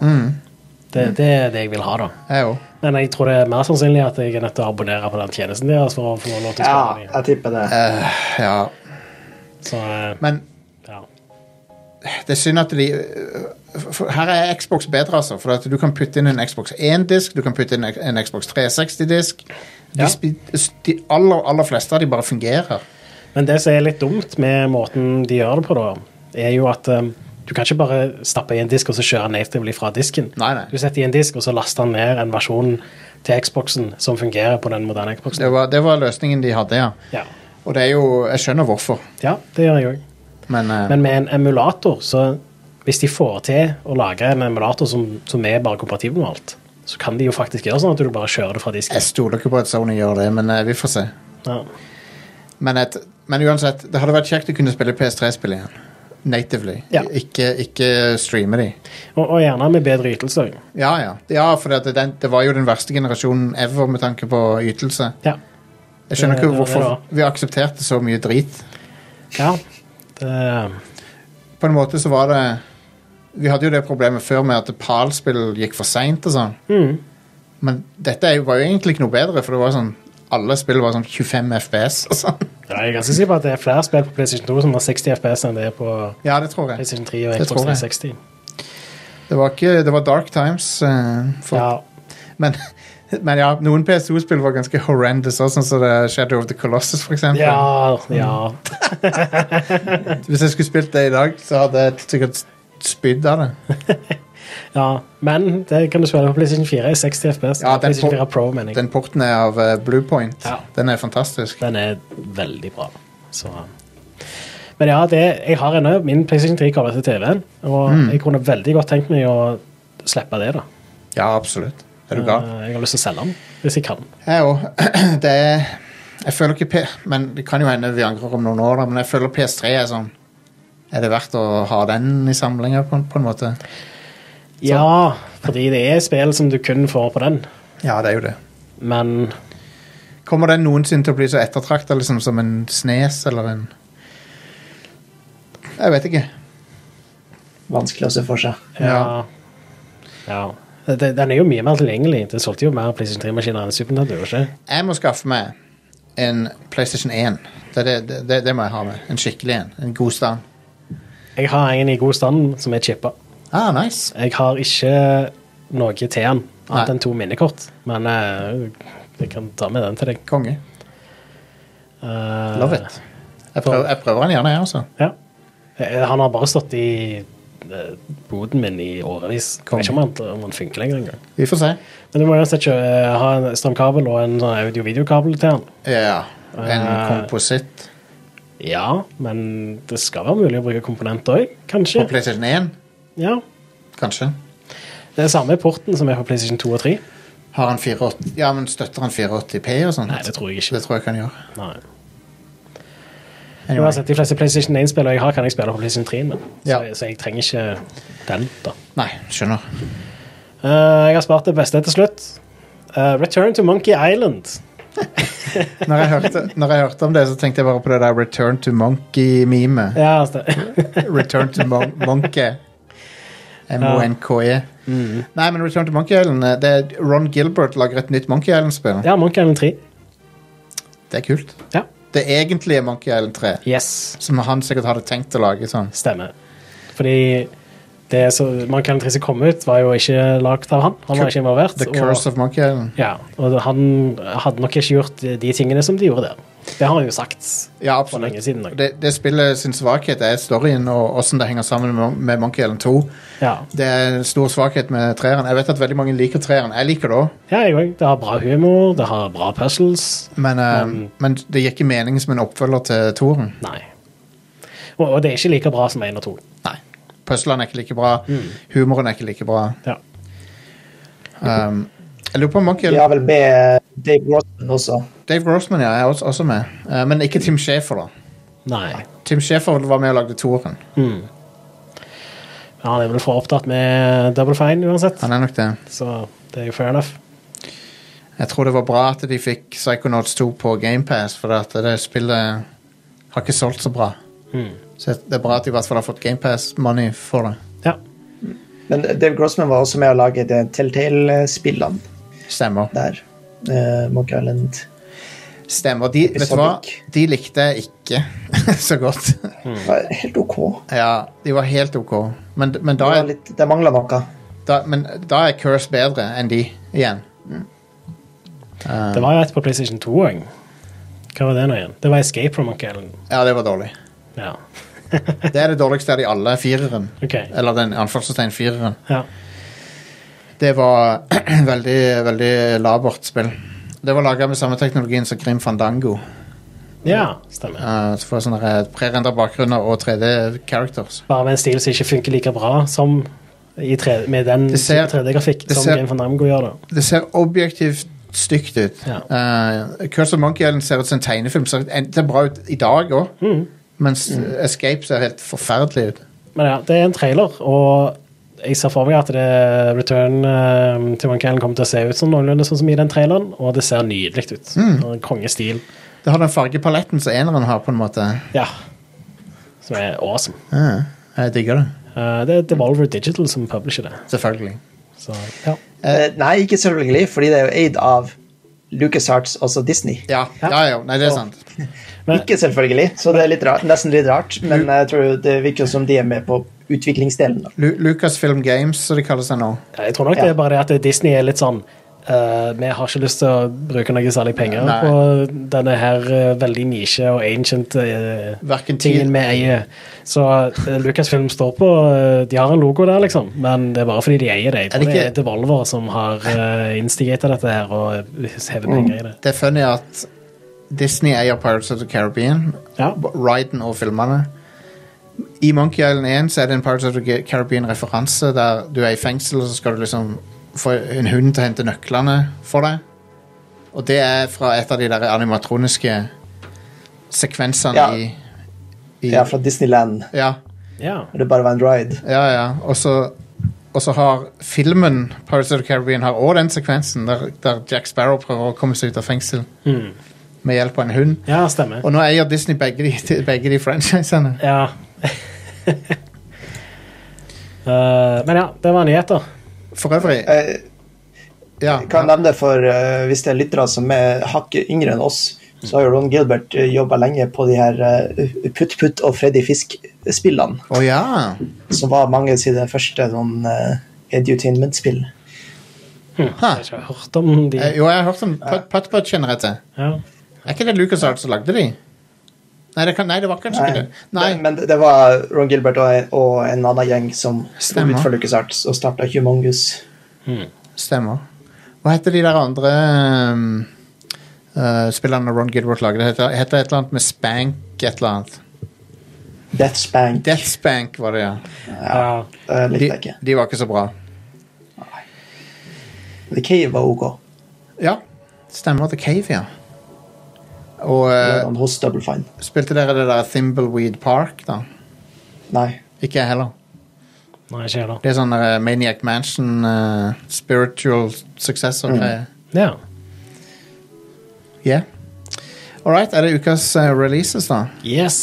Speaker 2: Det, det er det jeg vil ha, da.
Speaker 1: Jeg òg.
Speaker 2: Men jeg tror det er mer sannsynlig at jeg er nødt til å abonnere på den tjenesten deres for å få lov til å
Speaker 3: Ja,
Speaker 2: spille den.
Speaker 3: jeg tipper det.
Speaker 1: Ja.
Speaker 2: i. Så eh,
Speaker 1: Men
Speaker 2: ja.
Speaker 1: det er synd at de øh, for Her er Xbox bedre, altså. For at du kan putte inn en Xbox 1-disk, du kan putte inn en Xbox 360-disk. De,
Speaker 2: Ja.
Speaker 1: spi- de aller, aller fleste av de bare fungerer.
Speaker 2: Men det som er litt dumt med måten de gjør det på, da, er jo at eh, du kan ikke bare stappe i en disk og så kjøre natively fra disken.
Speaker 1: Nei, nei.
Speaker 2: Du setter i en disk, og så laster den ned en versjon til Xboxen som fungerer på den moderne Xboxen.
Speaker 1: Det var, det var løsningen de hadde, ja.
Speaker 2: Ja.
Speaker 1: Og det er jo Jeg skjønner hvorfor,
Speaker 2: ja, det gjør jeg òg.
Speaker 1: men, øh,
Speaker 2: Men med en emulator, så hvis de får til å lage en emulator som, som er bare kompatibel med alt, så kan de jo faktisk gjøre sånn at du bare kjører det fra disken.
Speaker 1: jeg stoler ikke på at Sony gjør det, men øh, vi får se.
Speaker 2: Ja.
Speaker 1: Men, et, men uansett, det hadde vært kjekt å kunne spille PS3-spill igjen. Natively.
Speaker 2: Ja.
Speaker 1: Ikke, ikke streame de.
Speaker 2: Og, og gjerne med bedre ytelse. også.
Speaker 1: Ja, ja. ja for det, den, det var jo den verste generasjonen ever med tanke på ytelse.
Speaker 2: Ja.
Speaker 1: Jeg skjønner
Speaker 2: Det-
Speaker 1: ikke
Speaker 2: det var det
Speaker 1: hvorfor vi aksepterte så mye drit.
Speaker 2: ja. Det,
Speaker 1: På en måte så var det Vi hadde jo det problemet før med at PAL-spill gikk for seint og sånn.
Speaker 2: Mm.
Speaker 1: Men dette er jo- var jo egentlig ikke noe bedre, for det var sånn alle spill var sånn 25 FPS og sånn.
Speaker 2: ja, jeg er ganske sikker på at det er flere spill på PlayStation 2 som har 60 FPS enn det er på
Speaker 1: Ja, det tror jeg.
Speaker 2: PlayStation 3 og
Speaker 1: Det
Speaker 2: Xbox
Speaker 1: tror jeg.
Speaker 2: 360.
Speaker 1: Det var, ikke, det var dark times. eh, for,
Speaker 2: Ja.
Speaker 1: men, men ja, noen PSO-spill var ganske horrendous, også, sånn som det Shadow of the Colossus, for eksempel.
Speaker 2: ja, ja.
Speaker 1: Hvis jeg skulle spilt det i dag, så hadde jeg sikkert spydd av det.
Speaker 2: ja. Men det kan du spille på PlayStation 4 i 60 FPS.
Speaker 1: Ja, den
Speaker 2: PlayStation
Speaker 1: på-
Speaker 2: 4 Pro, mener jeg.
Speaker 1: Den porten er av eh, Blue Point.
Speaker 2: Ja.
Speaker 1: Den er fantastisk.
Speaker 2: Den er veldig bra. Så. Men ja, det, jeg har ennå min PlayStation 3 koblet til TV-en, og
Speaker 1: Mm.
Speaker 2: jeg kunne veldig godt tenkt meg å slippe det. da.
Speaker 1: Ja, absolutt. Er du gal?
Speaker 2: Eh, Jeg har lyst til å selge den, hvis jeg kan.
Speaker 1: Jeg òg. Det er Jeg føler ikke P... Men det kan jo hende vi angrer om noen år, da, men jeg føler PS3 er sånn Er det verdt å ha den i samlinga, på, en- på en måte?
Speaker 2: Ja, fordi det er spill som du kun får på den,
Speaker 1: Ja, det er jo det.
Speaker 2: men
Speaker 1: Kommer den noensinne til å bli så ettertrakta liksom, som en snes eller en Jeg vet ikke.
Speaker 3: Vanskelig å se for seg.
Speaker 2: ja. ja. Det- Den er jo mye mer tilgjengelig. Det solgte jo mer PlayStation 3-maskiner enn Super Nintendo. ikke?
Speaker 1: Jeg må skaffe meg en PlayStation 1. Det, er det, det, det, det må jeg ha med. En skikkelig en. En god stand.
Speaker 2: Jeg har en i god stand som er chippa.
Speaker 1: Ah, nice.
Speaker 2: Jeg har ikke noe til den, annet
Speaker 1: Nei.
Speaker 2: enn to minnekort. Men eh, jeg kan ta med den til deg.
Speaker 1: Konge.
Speaker 2: Eh,
Speaker 1: Love it. Jeg prøver, jeg prøver den gjerne, jeg, altså.
Speaker 2: Ja. Eh, Han har bare stått i eh, boden min i årevis. Jeg
Speaker 1: Kom.
Speaker 2: vet ikke om han, om han funker lenger engang.
Speaker 1: Vi får se.
Speaker 2: Men du må uansett ikke eh, ha en strømkabel og en sånn audio-videokabel til han.
Speaker 1: Ja. En
Speaker 2: Eh.
Speaker 1: kompositt
Speaker 2: Ja, men det skal være mulig å bruke komponenter òg, kanskje.
Speaker 1: på PlayStation 1,
Speaker 2: Ja.
Speaker 1: kanskje.
Speaker 2: Det er samme porten som er på PlayStation 2 og 3.
Speaker 1: Har han 480 Ja, men støtter han 480P og sånt?
Speaker 2: Nei, det tror jeg ikke.
Speaker 1: Det tror jeg kan gjøre.
Speaker 2: Nei.
Speaker 1: Anyway.
Speaker 2: Uansett, de fleste PlayStation 1-spillene jeg har, kan jeg spille på PlayStation 3 med. Så,
Speaker 1: Ja.
Speaker 2: så jeg trenger ikke den, da.
Speaker 1: Nei, skjønner.
Speaker 2: Eh, jeg har spart det beste til slutt. Eh, Return to Monkey Island.
Speaker 1: Når jeg, hørte, når jeg hørte om det, så tenkte jeg bare på det der Return to Monkey-memet.
Speaker 2: Ja, altså,
Speaker 1: Return to mon Monkey. M-O-N-K-E. E. Nei, men Return to Monkey Island eh, det er Ron Gilbert lager et nytt Monkey Island-spill.
Speaker 2: ja Monkey Island 3.
Speaker 1: Det er kult.
Speaker 2: Ja.
Speaker 1: Det egentlige Monkey Island 3,
Speaker 2: Yes.
Speaker 1: som han sikkert hadde tenkt å lage sånn.
Speaker 2: Stemmer. Fordi det så, Monkey Island 3 som kom ut, var jo ikke lagd av han. Han var ikke involvert.
Speaker 1: The Curse
Speaker 2: og,
Speaker 1: of Monkey Island.
Speaker 2: ja, og han hadde nok ikke gjort de tingene som de gjorde der. Det har han jo sagt
Speaker 1: Ja,
Speaker 2: for
Speaker 1: absolutt.
Speaker 2: lenge siden. nok.
Speaker 1: Det, det spillet sin svakhet er storyen og åssen det henger sammen med, med Monkey Island 2.
Speaker 2: Ja.
Speaker 1: Det er en stor svakhet med treeren. Jeg vet at veldig mange liker treeren. Jeg liker det òg,
Speaker 2: ja, jeg òg. Det har bra humor, det har bra puzzles.
Speaker 1: men, eh, men det gir ikke mening som en oppfølger til toeren.
Speaker 2: Nei. Og, og det er ikke like bra som 1 og 2.
Speaker 1: Nei. Mm. Puzzlene er ikke like bra. Humoren er ikke like bra.
Speaker 2: Ja.
Speaker 1: Um, jeg lurer på om Monkey
Speaker 3: De
Speaker 1: Island
Speaker 3: har vel med Dave Grossman også.
Speaker 1: Dave Grossman ja, er også, også med, Eh, men ikke Tim Schafer, da.
Speaker 2: Nei. Mm.
Speaker 1: Tim Schafer var med og lagde toeren.
Speaker 2: Ja, han er vel for opptatt med double fine uansett,
Speaker 1: Han er nok det.
Speaker 2: så det er jo fair enough.
Speaker 1: Jeg tror det var bra at de fikk Psychonauts 2 på GamePass, for at det spillet har ikke solgt så bra. Så det er bra at de i hvert fall har fått GamePass-money for det.
Speaker 2: Ja.
Speaker 3: Men Dave Grossman var også med å lage det Telltale-spillene
Speaker 1: Stemmer.
Speaker 3: der. Eh, Monkey Island.
Speaker 1: Stemmer. De, vet du hva? De likte jeg ikke så godt.
Speaker 3: Det var helt OK.
Speaker 1: Ja, de var helt ok. Men, men,
Speaker 3: Det,
Speaker 1: da,
Speaker 3: var
Speaker 1: er,
Speaker 3: litt, det mangla noe.
Speaker 1: da, men da er Curse bedre enn de igjen.
Speaker 2: Det var jo et på PlayStation 2 òg. Hva var det nå igjen? Det var Escape from Monkey Island.
Speaker 1: Ja, det var dårlig.
Speaker 2: Ja.
Speaker 1: Det er det dårligste av de alle, fireren.
Speaker 2: Ok.
Speaker 1: Eller den anførselstegn fireren.
Speaker 2: Ja.
Speaker 1: Det var veldig, veldig labert spill. Det var laga med samme teknologien som Grim Fandango.
Speaker 2: ja, stemmer.
Speaker 1: Eh, så får jeg sånne prerenda bakgrunner og 3D-characters.
Speaker 2: Bare med en stil som ikke funker like bra som i tre, med den
Speaker 1: Det ser-
Speaker 2: 3D-grafikk
Speaker 1: det
Speaker 2: som
Speaker 1: ser-
Speaker 2: Game van Namgo gjør. da.
Speaker 1: Det ser objektivt stygt ut.
Speaker 2: Ja.
Speaker 1: Eh, Curse of Monkey Island ser ut som en tegnefilm. Ser, en- ser bra ut i dag òg, mens Escape ser helt forferdelig ut.
Speaker 2: Men ja, det er en trailer, og jeg ser for meg at det Return eh, til Monkey Island kommer til å se ut som noenlunde sånn som i den traileren, og det ser nydelig ut. Og en Kongestil.
Speaker 1: Det har den fargepaletten som eneren har, på en måte.
Speaker 2: Ja. Som er awesome.
Speaker 1: Ja, jeg digger det.
Speaker 2: Eh, det er Devolver Digital som publisher det.
Speaker 1: Selvfølgelig.
Speaker 2: Så ja.
Speaker 3: Eh, nei, ikke selvfølgelig, fordi det er jo eid av LucasArts, altså Disney.
Speaker 1: Ja, ja, ja nei, det er sant.
Speaker 2: Men-
Speaker 3: Ikke selvfølgelig, så det er litt rart, nesten litt rart, men jeg tror det virker som de er med på utviklingsdelen. da.
Speaker 1: Lu Lucasfilm Games, som de kaller seg nå.
Speaker 2: Ja, Jeg tror nok
Speaker 3: Ja.
Speaker 2: det er bare det at Disney er litt sånn eh, Vi har ikke lyst til å bruke noe særlig penger
Speaker 1: Nei.
Speaker 2: på denne her eh, veldig nisje og ancient eh,
Speaker 1: Hverken tid-
Speaker 2: tingen vi eier. Så eh, Lucasfilm står på eh, De har en logo der, liksom, men det er bare fordi de eier det. Jeg
Speaker 1: Er det
Speaker 2: tror det,
Speaker 1: ikke-
Speaker 2: er eh,
Speaker 1: Mm.
Speaker 2: Devolver som har uh, instigata dette her og hevet penger i det.
Speaker 1: Det er funny at Disney eier Pirates of the Caribbean.
Speaker 2: Ja.
Speaker 1: b- Ryden og filmene. I Monkey Island 1 så er det en Pirates of the Ca- Caribbean-referanse der du er i fengsel, og så skal du liksom få en hund til å hente nøklene for deg. Og det er fra et av de der animatroniske sekvensene
Speaker 3: Ja.
Speaker 1: i, i
Speaker 3: Ja, fra Disneyland.
Speaker 1: ja.
Speaker 2: Ja.
Speaker 3: Hvor det bare var en ride.
Speaker 1: Ja, ja. Og så, og så har filmen Pirates of the Caribbean har også den sekvensen der, der Jack Sparrow prøver å komme seg ut av fengsel med hjelp av en hund.
Speaker 2: ja, stemmer.
Speaker 1: Og nå eier Disney begge de, begge de franchisene.
Speaker 2: Ja. Eh, men ja, det var nyheter.
Speaker 1: For øvrig
Speaker 3: Eh,
Speaker 1: ja,
Speaker 3: Jeg kan nevne det for eh, hvis det er lyttere som er hakket yngre enn oss, så har jo Ron Gilbert jobba lenge på de her eh, Putt Putt og Freddy Fisk-spillene,
Speaker 1: Å ja.
Speaker 3: som var mange sine første sånn eh, edutainment-spill.
Speaker 1: Ha.
Speaker 2: Hm, Jeg har ikke hørt om de.
Speaker 1: Eh, Jo, jeg har hørt om Putt- Putt Putt kjenner jeg til.
Speaker 2: Ja.
Speaker 1: Er ikke det Lucas Art som lagde de? Nei, det, kan, nei, det var kanskje ikke
Speaker 3: Nei.
Speaker 1: det. Nei,
Speaker 3: Men- Men det var Ron Gilbert og, og en annen gjeng som sto
Speaker 1: Stemmer.
Speaker 3: ut for LucasArts og starta Humongus.
Speaker 1: stemmer. Hva heter de der andre um, eh, spillerne Ron Gilbert lagde? Det heter, heter et eller annet med Spank et eller annet.
Speaker 3: Deathspank
Speaker 1: Death Spank var det, ja.
Speaker 2: Ja.
Speaker 3: eh, likte
Speaker 1: De,
Speaker 3: jeg ikke.
Speaker 1: de var ikke så bra.
Speaker 3: The Cave var ok.
Speaker 1: Ja, stemmer. The Cave, ja. Og eh,
Speaker 3: Uh, hos Double Fine.
Speaker 1: spilte dere det der Thimbleweed Park, da?
Speaker 3: Nei.
Speaker 1: Ikke jeg heller.
Speaker 2: Nei, ikke heller.
Speaker 1: Det er sånn eh, Maniac Mansion, eh, spiritual successor. Mm.
Speaker 2: Ja.
Speaker 1: Yeah. All right, er det ukas eh, releases, da?
Speaker 2: Yes.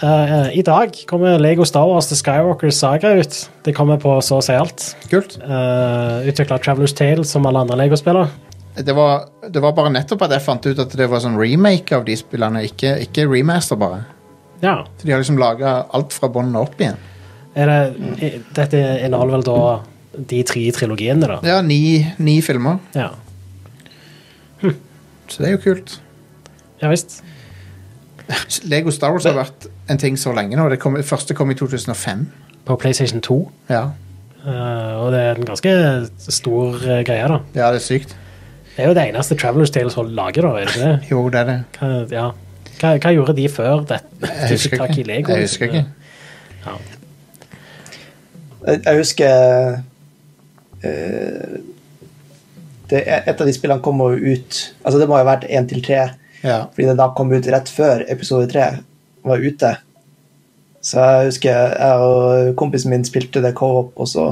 Speaker 2: Eh, eh, I dag kommer Lego Star Wars The Skywalker Saga ut. Det kommer på så å si alt.
Speaker 1: Kult.
Speaker 2: Uh, Utvikla Travelers Tale som alle andre Lego-spillere.
Speaker 1: Det var, det var bare nettopp at jeg fant ut at det var sånn remake av de spillene, ikke, ikke remaster, bare.
Speaker 2: Ja.
Speaker 1: Så de har liksom laga alt fra bånn og opp igjen.
Speaker 2: Er det, i- dette inneholder vel da de tre trilogiene, da?
Speaker 1: Ja, ni, ni filmer,
Speaker 2: Ja,
Speaker 1: så det er jo kult.
Speaker 2: ja visst.
Speaker 1: Lego Star Wars har vært en ting så lenge nå. Det kom, det første kom i 2005.
Speaker 2: På PlayStation 2.
Speaker 1: Ja,
Speaker 2: eh, og det er en ganske stor eh, greie, da.
Speaker 1: ja det er sykt.
Speaker 2: Det er jo det eneste Travelers Tales holder lager, da. Er det ikke det?
Speaker 1: Jo, det er det.
Speaker 2: Hva, ja. hva, hva gjorde de før dette?
Speaker 1: Jeg husker
Speaker 2: Takk i
Speaker 1: ikke.
Speaker 2: Lego,
Speaker 1: Jeg husker
Speaker 2: liksom.
Speaker 1: ikke.
Speaker 3: Jeg, jeg husker eh, det, Et av de spillene kom jo ut Altså, det må jo ha vært én til tre.
Speaker 1: Ja.
Speaker 3: Fordi det da kom ut rett før episode 3 var ute. Så jeg husker jeg og kompisen min spilte det co-op, og så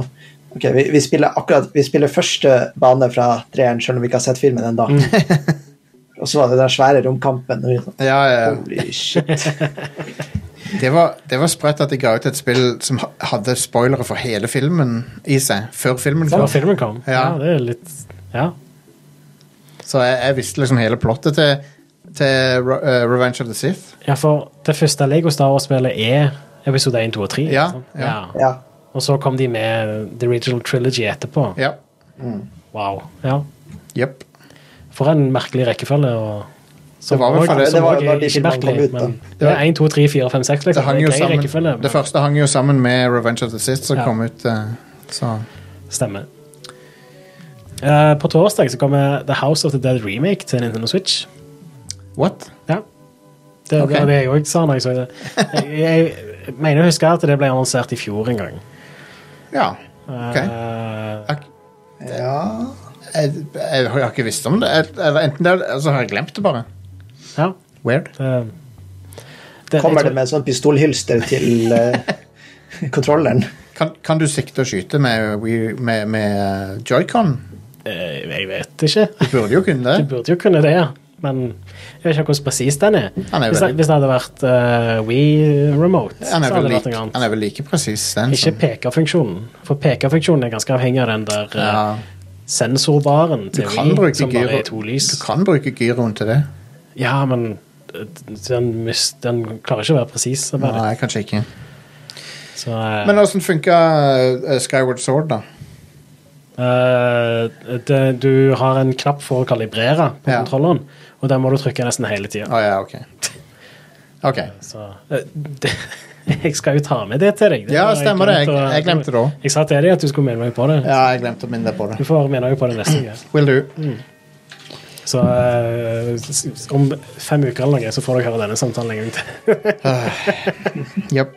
Speaker 3: Ok, vi, vi spiller akkurat Vi spiller første bane fra treeren, selv om vi ikke har sett filmen ennå. og så var det den svære romkampen. Og vi sånn,
Speaker 1: Ja, ja, ja.
Speaker 3: Holy shit.
Speaker 1: Det var, det var sprøtt at de ga ut et spill som ha- hadde spoilere for hele filmen i seg, før filmen
Speaker 2: Da
Speaker 1: kom.
Speaker 2: filmen kom. Ja.
Speaker 1: Ja.
Speaker 2: det er litt Ja.
Speaker 1: Så jeg, jeg visste liksom hele plottet til, til Re- eh, Revenge of the Sith.
Speaker 2: ja, for det første Lego Star Wars-spillet er episode 1, 2 og 3. ikke
Speaker 1: Ja,
Speaker 2: sant?
Speaker 1: ja.
Speaker 3: Ja.
Speaker 2: Og så kom de med The Original Trilogy etterpå.
Speaker 1: Ja.
Speaker 2: Wow. Ja.
Speaker 1: Jepp.
Speaker 2: For en merkelig rekkefølge. Og,
Speaker 1: Det
Speaker 2: som
Speaker 1: var vel
Speaker 2: også-
Speaker 1: for det-
Speaker 2: som
Speaker 3: det var jo
Speaker 2: også
Speaker 3: når
Speaker 2: er
Speaker 3: de
Speaker 2: ikke
Speaker 3: filmene kom
Speaker 2: merkelig,
Speaker 3: ut, da.
Speaker 2: men Det er 1, 2, 3, 4, 5, 6.
Speaker 1: Det,
Speaker 2: Liksom.
Speaker 1: hang jo
Speaker 2: grei rekkefølge,
Speaker 1: sammen,
Speaker 2: men-
Speaker 1: det første hang jo sammen med Revenge of the Sith, som
Speaker 2: Ja.
Speaker 1: kom ut eh, så
Speaker 2: Stemmer. Eh, på torsdag så kommer The House of the Dead Remake til Nintendo Switch.
Speaker 1: What?
Speaker 2: Ja. Det
Speaker 1: Ok.
Speaker 2: det var det jeg òg sa når jeg så det. Jeg, jeg mener å huske at det ble annonsert i fjor en gang.
Speaker 1: Ja. Ok.
Speaker 2: Eh,
Speaker 3: ja.
Speaker 1: Jeg, jeg har ikke visst om det. Jeg, eller enten det, eller så har jeg glemt det bare.
Speaker 2: ja.
Speaker 1: Weird.
Speaker 2: det- det-
Speaker 3: Kommer
Speaker 2: jeg
Speaker 3: det
Speaker 2: tror-
Speaker 3: med sånn pistolhylster til eh, kontrolleren?
Speaker 1: Kan, kan du sikte og skyte med, Wii- med, med joycon?
Speaker 2: eh, Jeg vet ikke.
Speaker 1: Du burde jo kunne
Speaker 2: Du
Speaker 1: det.
Speaker 2: burde jo kunne det, ja. Men jeg vet ikke hvordan presis den er.
Speaker 1: Han er
Speaker 2: hvis, det,
Speaker 1: veldig-
Speaker 2: hvis det hadde vært uh, Wii Remote, så
Speaker 1: Han er vel
Speaker 2: hadde det vært
Speaker 1: like,
Speaker 2: noe annet.
Speaker 1: han er vel sånn- like presis, den.
Speaker 2: Ikke
Speaker 1: som-
Speaker 2: pekerfunksjonen, for pekerfunksjonen er ganske avhengig av den der eh,
Speaker 1: ja.
Speaker 2: sensorbaren
Speaker 1: Du
Speaker 2: til
Speaker 1: kan
Speaker 2: Wii,
Speaker 1: bruke
Speaker 2: som bare
Speaker 1: gyro.
Speaker 2: er to lys.
Speaker 1: Du kan bruke gyroen til det.
Speaker 2: Ja, men eh, den, mis- den klarer ikke å være presis. det er bare det.
Speaker 1: Nei, kanskje ikke.
Speaker 2: Så, eh,
Speaker 1: Men åssen funka eh, Skyward Sword, da?
Speaker 2: eh, det, du har en knapp for å kalibrere på
Speaker 1: Ja.
Speaker 2: kontrolleren, og den må du trykke nesten hele tida.
Speaker 1: Å ja, OK. OK.
Speaker 2: Så, eh, det, jeg skal jo ta med det til deg.
Speaker 1: Ja,
Speaker 2: har
Speaker 1: stemmer det.
Speaker 2: glemt å-
Speaker 1: Jeg- jeg glemte det også.
Speaker 2: Jeg sa til deg at du skulle minne meg på det.
Speaker 1: Ja, jeg glemte å minne deg på Mm.
Speaker 2: Du
Speaker 1: det.
Speaker 2: får minne meg på det neste gang.
Speaker 1: Will do.
Speaker 2: Så eh, s- s- om fem uker eller noe så får dere høre denne samtalen en gang til.
Speaker 1: Japp.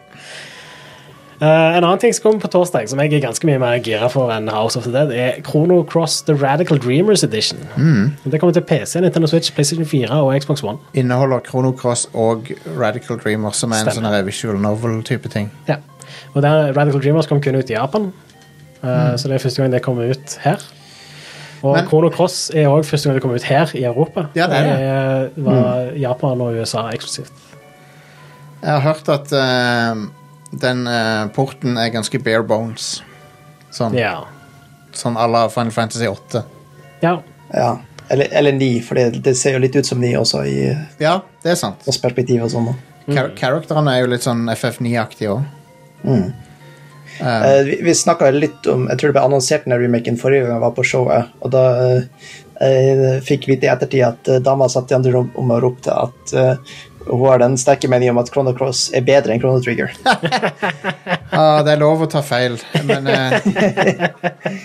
Speaker 2: Eh, en annen ting som kommer på torsdag, som jeg er ganske mye mer gira for enn House of the Dead, er Chrono Cross The Radical Dreamers Edition.
Speaker 1: Mm.
Speaker 2: Det kommer til PC, Nintendo Switch, PlayStation 4 og Xbox One.
Speaker 1: Inneholder Chrono Cross og Radical Dreamer, som er en sånn
Speaker 2: Stemmer.
Speaker 1: her visual novel-type ting.
Speaker 2: Ja. Og der, Radical Dreamers kom kun ut i Japan, Eh, så det er første gang det kommer ut her.
Speaker 1: Mm.
Speaker 2: Og
Speaker 1: Men-
Speaker 2: Chrono Cross er òg første gang det kommer ut her i Europa.
Speaker 1: Ja, det er det. Mm.
Speaker 2: Det var Japan og USA eksklusivt.
Speaker 1: Jeg har hørt at eh, den eh, porten er ganske bare bones. Sånn,
Speaker 2: Ja.
Speaker 1: sånn à la Final Fantasy 8.
Speaker 2: ja.
Speaker 3: Ja. Eller, eller ni, for det, det ser jo litt ut som ni også, i
Speaker 1: Ja, det er sant.
Speaker 3: oss perspektiv og sånn. da.
Speaker 1: Char Characterene er jo litt sånn FF9-aktige òg.
Speaker 3: Eh, vi vi snakka litt om Jeg tror det ble annonsert den remaken forrige gang jeg var på showet. Og da eh, eh, fikk vi vite i ettertid at eh, dama satt i andre rom om og ropte at eh, hun har den sterke meningen om at Chrono Cross er bedre enn Chrono Trigger.
Speaker 1: Ah, det er lov å ta feil, men eh,
Speaker 2: ja.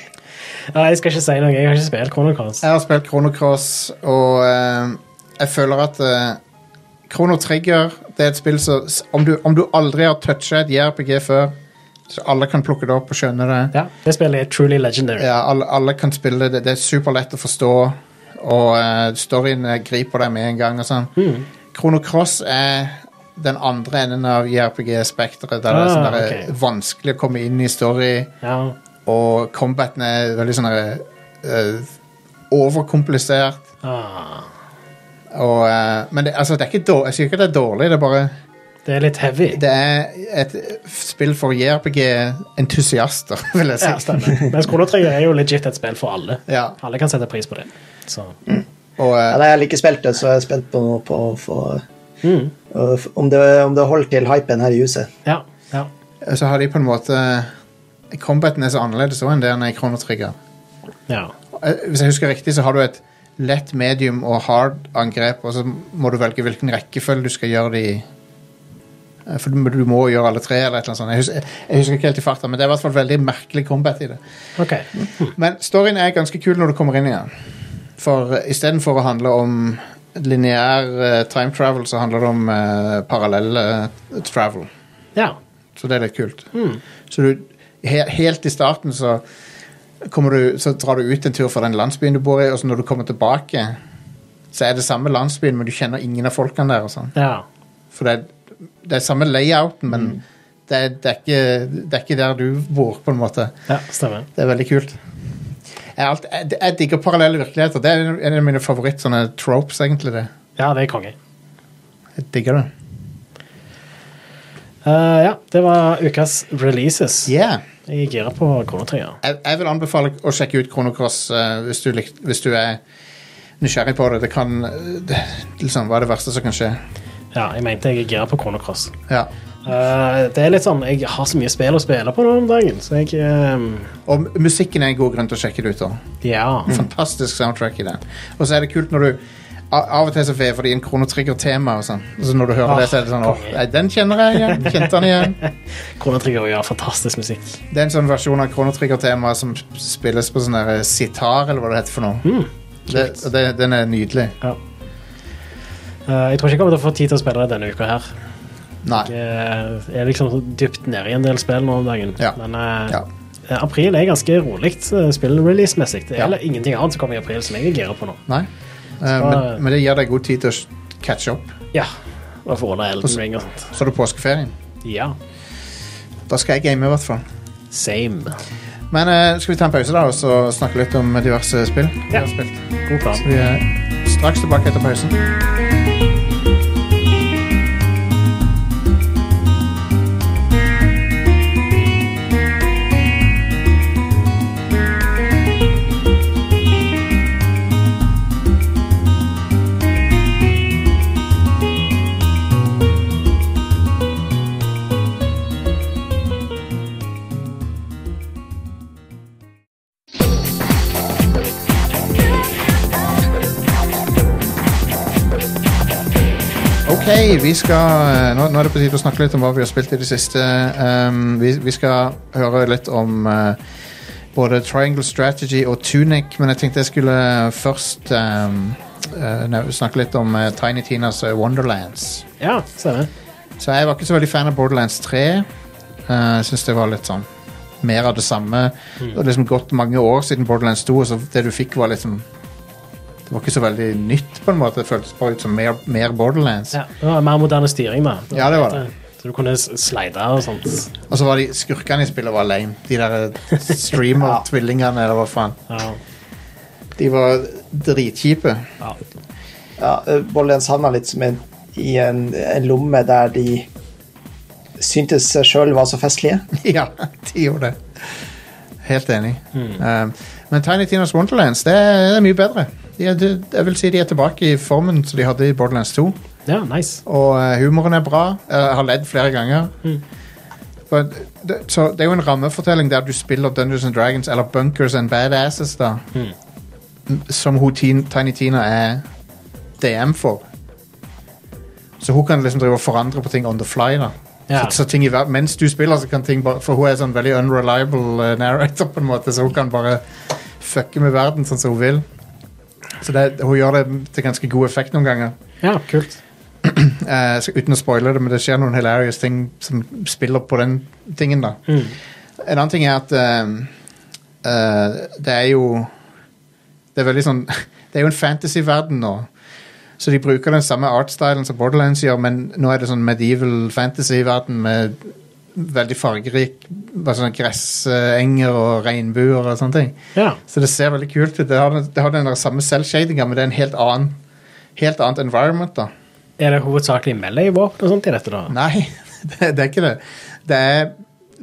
Speaker 2: Jeg skal ikke si noe, jeg har ikke spilt Chrono Cross.
Speaker 1: jeg har spilt Chrono Cross, og eh, jeg føler at eh, Chrono Trigger det er et spill som s- Om du, om du aldri har toucha et JRPG før, så alle kan plukke det opp og skjønne det.
Speaker 2: Ja, det spillet er truly legendary.
Speaker 1: Ja, alle, alle kan spille det. Det er superlett å forstå, og eh, storyen eh, griper deg med en gang. og sånn.
Speaker 2: Mm.
Speaker 1: Chrono Cross er den andre enden av JRPG-spekteret, der det er sånn
Speaker 2: Ah,
Speaker 1: der,
Speaker 2: ok.
Speaker 1: vanskelig å komme inn i story,
Speaker 2: Ja.
Speaker 1: og combaten er veldig sånn der, eh, overkomplisert.
Speaker 2: Ah.
Speaker 1: Og, eh, men det, altså, det er ikke dårlig. jeg sier ikke det er dårlig, det er bare
Speaker 2: Det er litt heavy.
Speaker 1: det er et spill for JRPG-entusiaster, vil jeg si.
Speaker 2: Ja, stemmer. Mens Chrono Trigger er jo legit et spill for alle.
Speaker 1: Ja.
Speaker 2: Alle kan sette pris på det. Så.
Speaker 1: Og, eh,
Speaker 3: Ja, nei, jeg har ikke spilt det, så jeg er spent på, på, på eh, f- om, det, om det holder til hypen her i huset.
Speaker 2: Ja, ja.
Speaker 1: Eh, så har de på en måte eh, Combaten er så annerledes også enn det den er i Chrono Trigger.
Speaker 2: ja.
Speaker 1: Eh, Hvis jeg husker riktig, så har du et lett, medium og hard angrep, og så må du velge hvilken rekkefølge du skal gjøre det i. Eh, For du må- du må gjøre alle tre, eller et eller annet sånt. Jeg husker, jeg husker ikke helt i farta, men det er i hvert fall veldig merkelig combat i det.
Speaker 2: OK.
Speaker 1: Men storyen er ganske kul når du kommer inn i den. For eh, istedenfor å handle om lineær eh, time travel, så handler det om eh, parallell eh, travel.
Speaker 2: Ja.
Speaker 1: Så det er litt kult. Så du, he, helt i starten så, kommer du, så drar du ut en tur fra den landsbyen du bor i, og så når du kommer tilbake, så er det samme landsbyen, men du kjenner ingen av folkene der. og sånn.
Speaker 2: ja.
Speaker 1: For det er, det er samme layouten, men det, er, det, er ikke, det er ikke der du bor, på en måte.
Speaker 2: Ja, stemmer.
Speaker 1: Det er veldig kult. Jeg, er alt, jeg, jeg digger parallelle virkeligheter. Det er en- en av mine favoritt sånne tropes, egentlig. det.
Speaker 2: Ja, det er konge.
Speaker 1: Jeg digger det.
Speaker 2: Eh, ja, det var ukas releases.
Speaker 1: Yeah.
Speaker 2: Jeg girer på Chrono Trigger.
Speaker 1: jeg, jeg vil anbefale å sjekke ut Chrono Cross eh, hvis, du lik, hvis du er nysgjerrig på det. Det kan eh, det, liksom, Hva er det verste som kan skje?
Speaker 2: Ja, jeg mente jeg girer på Chrono Cross.
Speaker 1: Ja.
Speaker 2: Eh, det er litt sånn, Jeg har så mye spill å spille på nå om dagen, så jeg ehm,
Speaker 1: Og m- musikken er en god grunn til å sjekke det ut. da.
Speaker 2: Ja.
Speaker 1: Mm. Fantastisk soundtrack i den. Og så er det kult når du a- Av og til så vever de inn kronotrigger-tema. og sånn. Og så når du hører
Speaker 2: Ah,
Speaker 1: det, så er det sånn åh,
Speaker 2: konge.
Speaker 1: nei, Den kjenner jeg igjen. Kjente den igjen.
Speaker 2: Chrono Trigger gjør fantastisk musikk.
Speaker 1: Det er en sånn versjon av kronotrigger-tema som sp- spilles på sånn der, eh, sitar, eller hva det heter for noe. det, og det, den er nydelig.
Speaker 2: Ja. Eh, jeg tror ikke jeg kommer til å få tid til å spille det denne uka her.
Speaker 1: Nei.
Speaker 2: Jeg er liksom så dypt nede i en del spill nå om dagen.
Speaker 1: Ja.
Speaker 2: Men eh,
Speaker 1: Ja.
Speaker 2: eh, april er ganske rolig eh, spillrelease-messig. Det
Speaker 1: Ja.
Speaker 2: er heller ingenting annet som kommer i april som jeg er gira på nå.
Speaker 1: Nei. Eh, men, men det gir deg god tid til å s- catch up.
Speaker 2: Ja. Og få ordna Elden Ring og sånt.
Speaker 1: Så er det påskeferien.
Speaker 2: Ja.
Speaker 1: Da skal jeg game, i hvert fall.
Speaker 2: Same.
Speaker 1: Men eh, skal vi ta en pause, da, og så snakke litt om diverse spill? vi
Speaker 2: Ja.
Speaker 1: har spilt?
Speaker 2: God plan.
Speaker 1: Vi er straks tilbake etter pausen. Ok, vi skal eh, nå, nå er det på tide å snakke litt om hva vi har spilt i det siste. Um, vi, vi skal høre litt om eh, både Triangle Strategy og Tunic, men jeg tenkte jeg skulle først um, eh, nav- snakke litt om eh, Tiny Tinas eh, Wonderlands.
Speaker 2: Ja, stemmer.
Speaker 1: Så jeg var ikke så veldig fan av Borderlands 3. Eh, Jeg synes det var litt sånn mer av det samme. Det har liksom gått mange år siden Borderlands 2, og så det du fikk var liksom Det var ikke så veldig nytt, på en måte. Det føltes bare ut som mer, mer Borderlands.
Speaker 2: Ja, det var mer moderne styring, da.
Speaker 1: Ja, det var det.
Speaker 2: Så du kunne s- slide og sånt.
Speaker 1: Og så var de skurkene i spillet var lame. De der eh, streamer-tvillingene, eller hva faen.
Speaker 2: Ja.
Speaker 1: De var dritkjipe.
Speaker 3: Ja, eh, Borderlands havna litt som en, i en, en lomme der de syntes seg sjøl var så festlige.
Speaker 1: Ja, de gjorde det. Helt enig. Um, men Tiny Tinas Wonderlands det er, det er mye bedre. De er, de, jeg vil si de er tilbake i formen som de hadde i Borderlands 2.
Speaker 2: ja, nice.
Speaker 1: Og eh, humoren er bra. Jeg har ledd flere ganger. But, det, så det er jo en rammefortelling der du spiller Dungeons and Dragons eller Bunkers and Badasses, da. Som hun, Tin- Tiny Tina er DM for. Så hun kan liksom drive og forandre på ting on the fly. da
Speaker 2: Ja.
Speaker 1: så, så ting i ver- Mens du spiller, så kan ting bare For hun er sånn veldig unreliable eh, narrator, på en måte, så hun kan bare fucke med verden sånn som hun vil. Så det, hun gjør det til ganske god effekt noen ganger.
Speaker 2: Ja, kult.
Speaker 1: Eh, så uten å spoile det, men det skjer noen hilarious ting som spiller på den tingen, da. En annen ting er at eh, eh, det er jo Det er veldig sånn Det er jo en fantasy-verden nå. Så de bruker den samme artstylen som Borderlands gjør, men nå er det sånn medieval fantasy-verden med veldig fargerik bare sånn Gressanger og regnbuer og sånne ting.
Speaker 2: Ja.
Speaker 1: Så det ser veldig kult ut. Det har, den- det har den der samme selvshadinga, men det er en helt annen helt annet environment. da.
Speaker 2: Er det hovedsakelig melee-våpen og sånt i dette, da?
Speaker 1: Nei, det, det er ikke det. Det er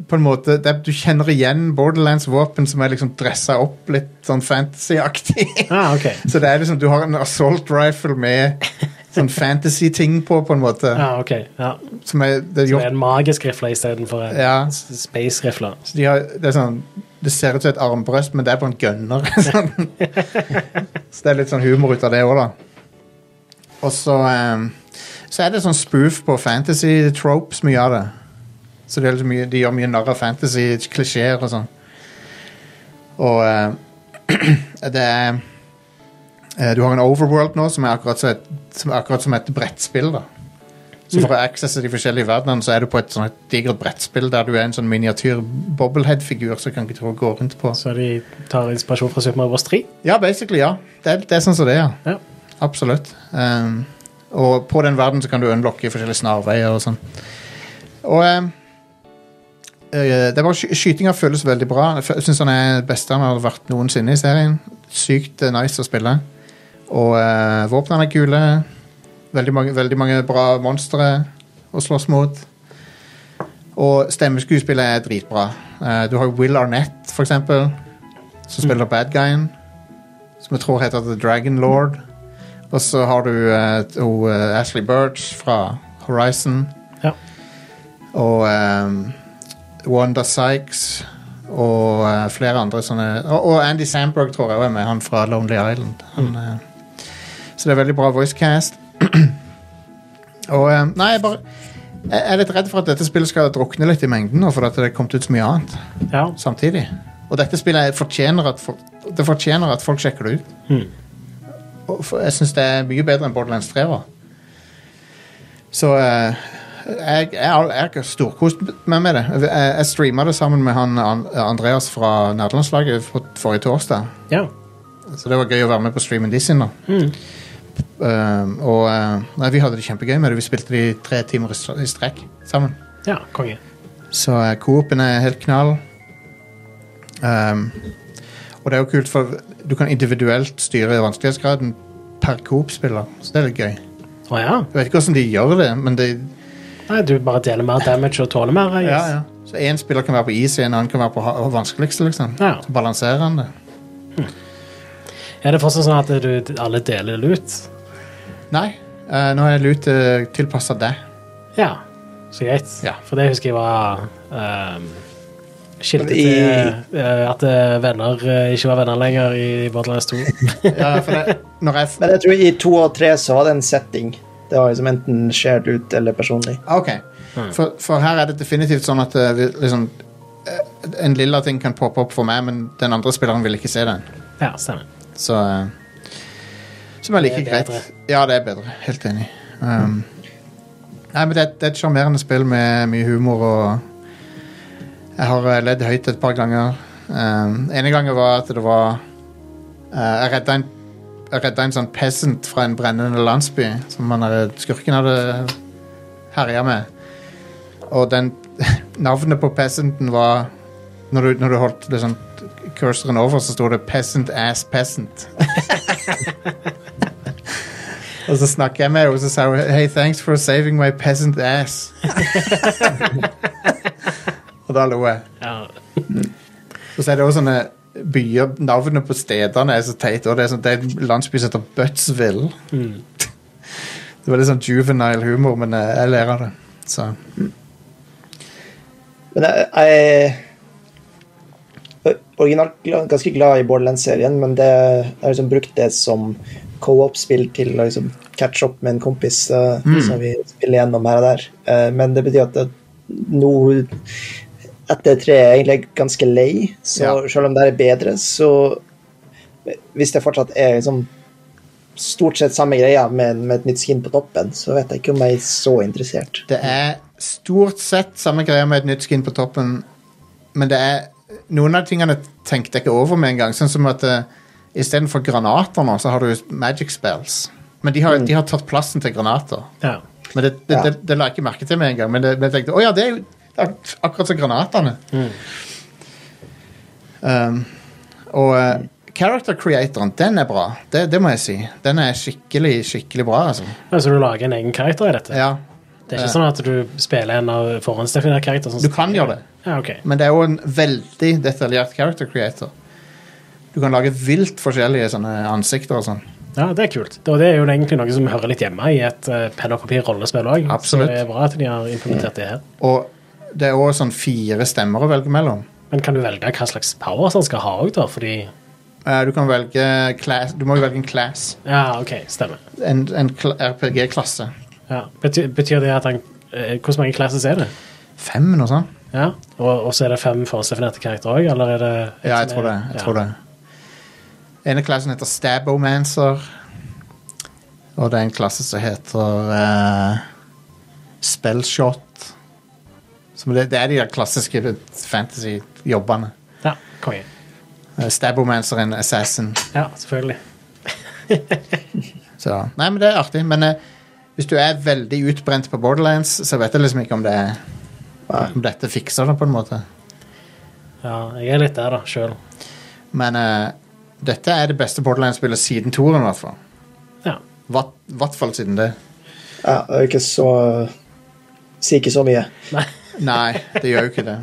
Speaker 1: på en måte det er, Du kjenner igjen Borderlands våpen som er liksom dressa opp litt sånn fantasy-aktig.
Speaker 2: Ah, ok.
Speaker 1: Så det er liksom, du har en assault rifle med sånn fantasy-ting på, på en måte.
Speaker 2: Ja, ok. Ja.
Speaker 1: Som er, det er
Speaker 2: Det er
Speaker 1: gjort
Speaker 2: en magisk rifle istedenfor en
Speaker 1: Ja.
Speaker 2: s- space-rifle.
Speaker 1: så de har, det, er sånn, det ser ut som et armbrøst, men det er på en gunner. Sånn. så det er litt sånn humor ut av det òg, da. Og så ehm, Så er det sånn spoof på fantasy tropes, mye av det. Så det er liksom mye, de gjør mye narr av fantasy-klisjeer og sånn. Og ehm, det er eh, Du har en overworld nå som er akkurat som et, som, er akkurat som et brettspill, da. Så for å accesse de forskjellige verdenene, så er du på et sånt digert brettspill der du er en sånn miniatyr bobblehead-figur som kan ikke tro å gå rundt på.
Speaker 2: Så de tar inspirasjon fra Super Mario Bros. 3.
Speaker 1: Ja, basically, ja. Det er, det er sånn som det er.
Speaker 2: Ja.
Speaker 1: Absolutt. Ehm, og på den verden så kan du unlocke forskjellige snarveier og sånn. Og ehm, eh, det er bare sky Skytinga føles veldig bra. Jeg fø- syns han er den beste han har vært noensinne i serien. Sykt eh, nice å spille. Og eh, våpnene er kule. Veldig mange, veldig mange bra monstre å slåss mot. Og stemmeskuespillet er dritbra. Eh, du har jo Will Arnett, for eksempel, som spiller bad guyen. Som jeg tror heter The Dragon Lord. Og så har du eh, t- hun, eh, Ashley Birch fra Horizon.
Speaker 2: Ja.
Speaker 1: Og ehm, Wanda Sykes. Og eh, flere andre sånne Og, og Andy Sandberg tror jeg også er med, han fra Lonely Island. Han, eh, så det er veldig bra voicecast. og eh, Nei, jeg bare jeg er litt redd for at dette spillet skal drukne litt i mengden nå, for at det er kommet ut så mye annet
Speaker 2: Ja.
Speaker 1: samtidig. Og dette spillet fortjener at folk, det fortjener at folk sjekker det ut. Og for, jeg syns det er mye bedre enn Borderlands 3 var. Så eh, jeg, jeg, har- jeg har storkost meg med det. Jeg, jeg streama det sammen med han An- Andreas fra nederlandslaget for- forrige torsdag.
Speaker 2: ja.
Speaker 1: Så det var gøy å være med på streamen de sin, da. Eh, og eh, nei, vi hadde det kjempegøy med det. Vi spilte det i tre timer i stre- i strekk sammen.
Speaker 2: Ja, konge.
Speaker 1: Så uh, Coop-en er helt knall. Ehm, og det er jo kult, for du kan individuelt styre vanskelighetsgraden per Coop-spiller. Så det er litt gøy. Jeg
Speaker 2: Å ja.
Speaker 1: vet ikke hvordan de gjør det, men det
Speaker 2: Nei, du bare deler mer damage og tåler mer. eh, I
Speaker 1: ja, ja. Så én spiller kan være på easy, en annen kan være på ha- vanskeligste, liksom.
Speaker 2: Ja.
Speaker 1: Så balanserer han det.
Speaker 2: Er det fortsatt sånn at du, alle deler lut?
Speaker 1: Nei, eh, nå er lut uh, tilpassa deg.
Speaker 2: Ja, så greit.
Speaker 1: Ja.
Speaker 2: For det husker jeg var um, skiltet
Speaker 3: I-
Speaker 2: til eh, at eh, venner eh, ikke var venner lenger i Borderlands 2.
Speaker 1: Ja, for det, når jeg
Speaker 3: Men jeg tror i to og tre så var det en setting. Det var liksom enten shared ut eller personlig.
Speaker 1: Ok, for, for her er det definitivt sånn at eh, vi- liksom, eh, en lilla ting kan poppe opp for meg, men den andre spilleren vil ikke se den.
Speaker 2: ja, stemmer.
Speaker 1: Så eh, Som er like
Speaker 2: Det er
Speaker 1: greit.
Speaker 2: bedre.
Speaker 1: Ja, det er bedre. Helt enig. Um, nei, men det, er- det er et sjarmerende spill med mye humor og Jeg har eh, ledd høyt et par ganger. Um, ene gangen var at det var eh, Jeg redda en jeg redda en sånn peasant fra en brennende landsby som han hadde, skurken hadde herja med. Og den navnet på peasanten var Når du, når du holdt liksom, cursoren over, så sto det 'Peasant ass peasant'. og så snakker jeg med henne og så sa hun, 'Hey, thanks for saving my peasant ass'. og da lo jeg.
Speaker 2: Ja.
Speaker 1: Og så er det også sånne byer Navnet på stedene er så teit. Og det er, sånn, det er en landsby som heter Buttsville. Det var litt sånn juvenile humor, men eh, jeg, jeg ler av det. Så
Speaker 3: Men jeg, jeg er originalt gla- ganske glad i Borderlands-serien, men det, jeg har liksom brukt det som co-op-spill til å liksom catch up med en kompis, eh, som vi spiller gjennom her og der. Eh, men det betyr at det, nå etter tre er jeg egentlig ganske lei, så
Speaker 1: Ja.
Speaker 3: selv om det her er bedre, så hvis det fortsatt er liksom stort sett samme greia med, med et nytt skin på toppen, så vet jeg ikke om jeg er så interessert.
Speaker 1: det er stort sett samme greia med et nytt skin på toppen, men det er noen av tingene tenkte jeg ikke over med en gang. Sånn som at eh, istedenfor granater nå, så har du magic spells. Men de har, de har tatt plassen til granater.
Speaker 2: Ja.
Speaker 1: Men det, det,
Speaker 3: Ja.
Speaker 1: det, det la jeg ikke merke til med en gang. Men, det, men jeg tenkte å ja, det er jo det er akkurat som granatene. Um, og eh, character creatoren, den er bra. Det, det må jeg si. Den er skikkelig, skikkelig bra, altså.
Speaker 2: Så du lager en egen karakter i dette?
Speaker 1: Ja,
Speaker 2: Det er ikke sånn at du spiller en av forhåndsdefinerte karakterer?
Speaker 1: du kan gjøre det,
Speaker 2: Ja, ok.
Speaker 1: men det er jo en veldig detaljert character creator. Du kan lage vilt forskjellige sånne ansikter og sånn.
Speaker 2: Ja, det er kult. Og det er jo egentlig noe som hører litt hjemme i et eh, penn og papir-rollespill òg. Så
Speaker 1: Absolutt.
Speaker 2: det er bra at de har implementert det her.
Speaker 1: Og det er òg sånn fire stemmer å velge mellom.
Speaker 2: Men kan du velge hva slags powers han skal ha òg, da? Fordi
Speaker 1: Eh, du kan velge class Du må jo velge en class.
Speaker 2: Ja, OK, stemmer.
Speaker 1: En, en kla- RPG-klasse.
Speaker 2: Ja. Betyr, betyr det at han eh, Hvor mange classes er det?
Speaker 1: Fem, noe sånt.
Speaker 2: Ja, og, og så er det fem forhåndsdefinerte karakterer òg, eller er det
Speaker 1: Ja, jeg tror det. Jeg tror det. ene klassen heter Stabomancer. Og det er en klasse som heter eh, Spellshot. Som det, det er de der klassiske fantasy-jobbene.
Speaker 2: Ja, konge.
Speaker 1: Eh, Stabomancer er en assassin.
Speaker 2: Ja, selvfølgelig.
Speaker 1: Så. Nei, men det er artig. Men eh, hvis du er veldig utbrent på Borderlands, så vet jeg liksom ikke om det er om dette fikser det, på en måte.
Speaker 2: Ja, jeg er litt der, da, sjøl.
Speaker 1: Men eh, dette er det beste Borderlands-spillet siden toeren, i hvert fall.
Speaker 2: Ja.
Speaker 1: Hva- hvert fall siden det.
Speaker 3: Ja, det er jo ikke så Sier ikke så mye.
Speaker 1: Nei, det gjør jo ikke det.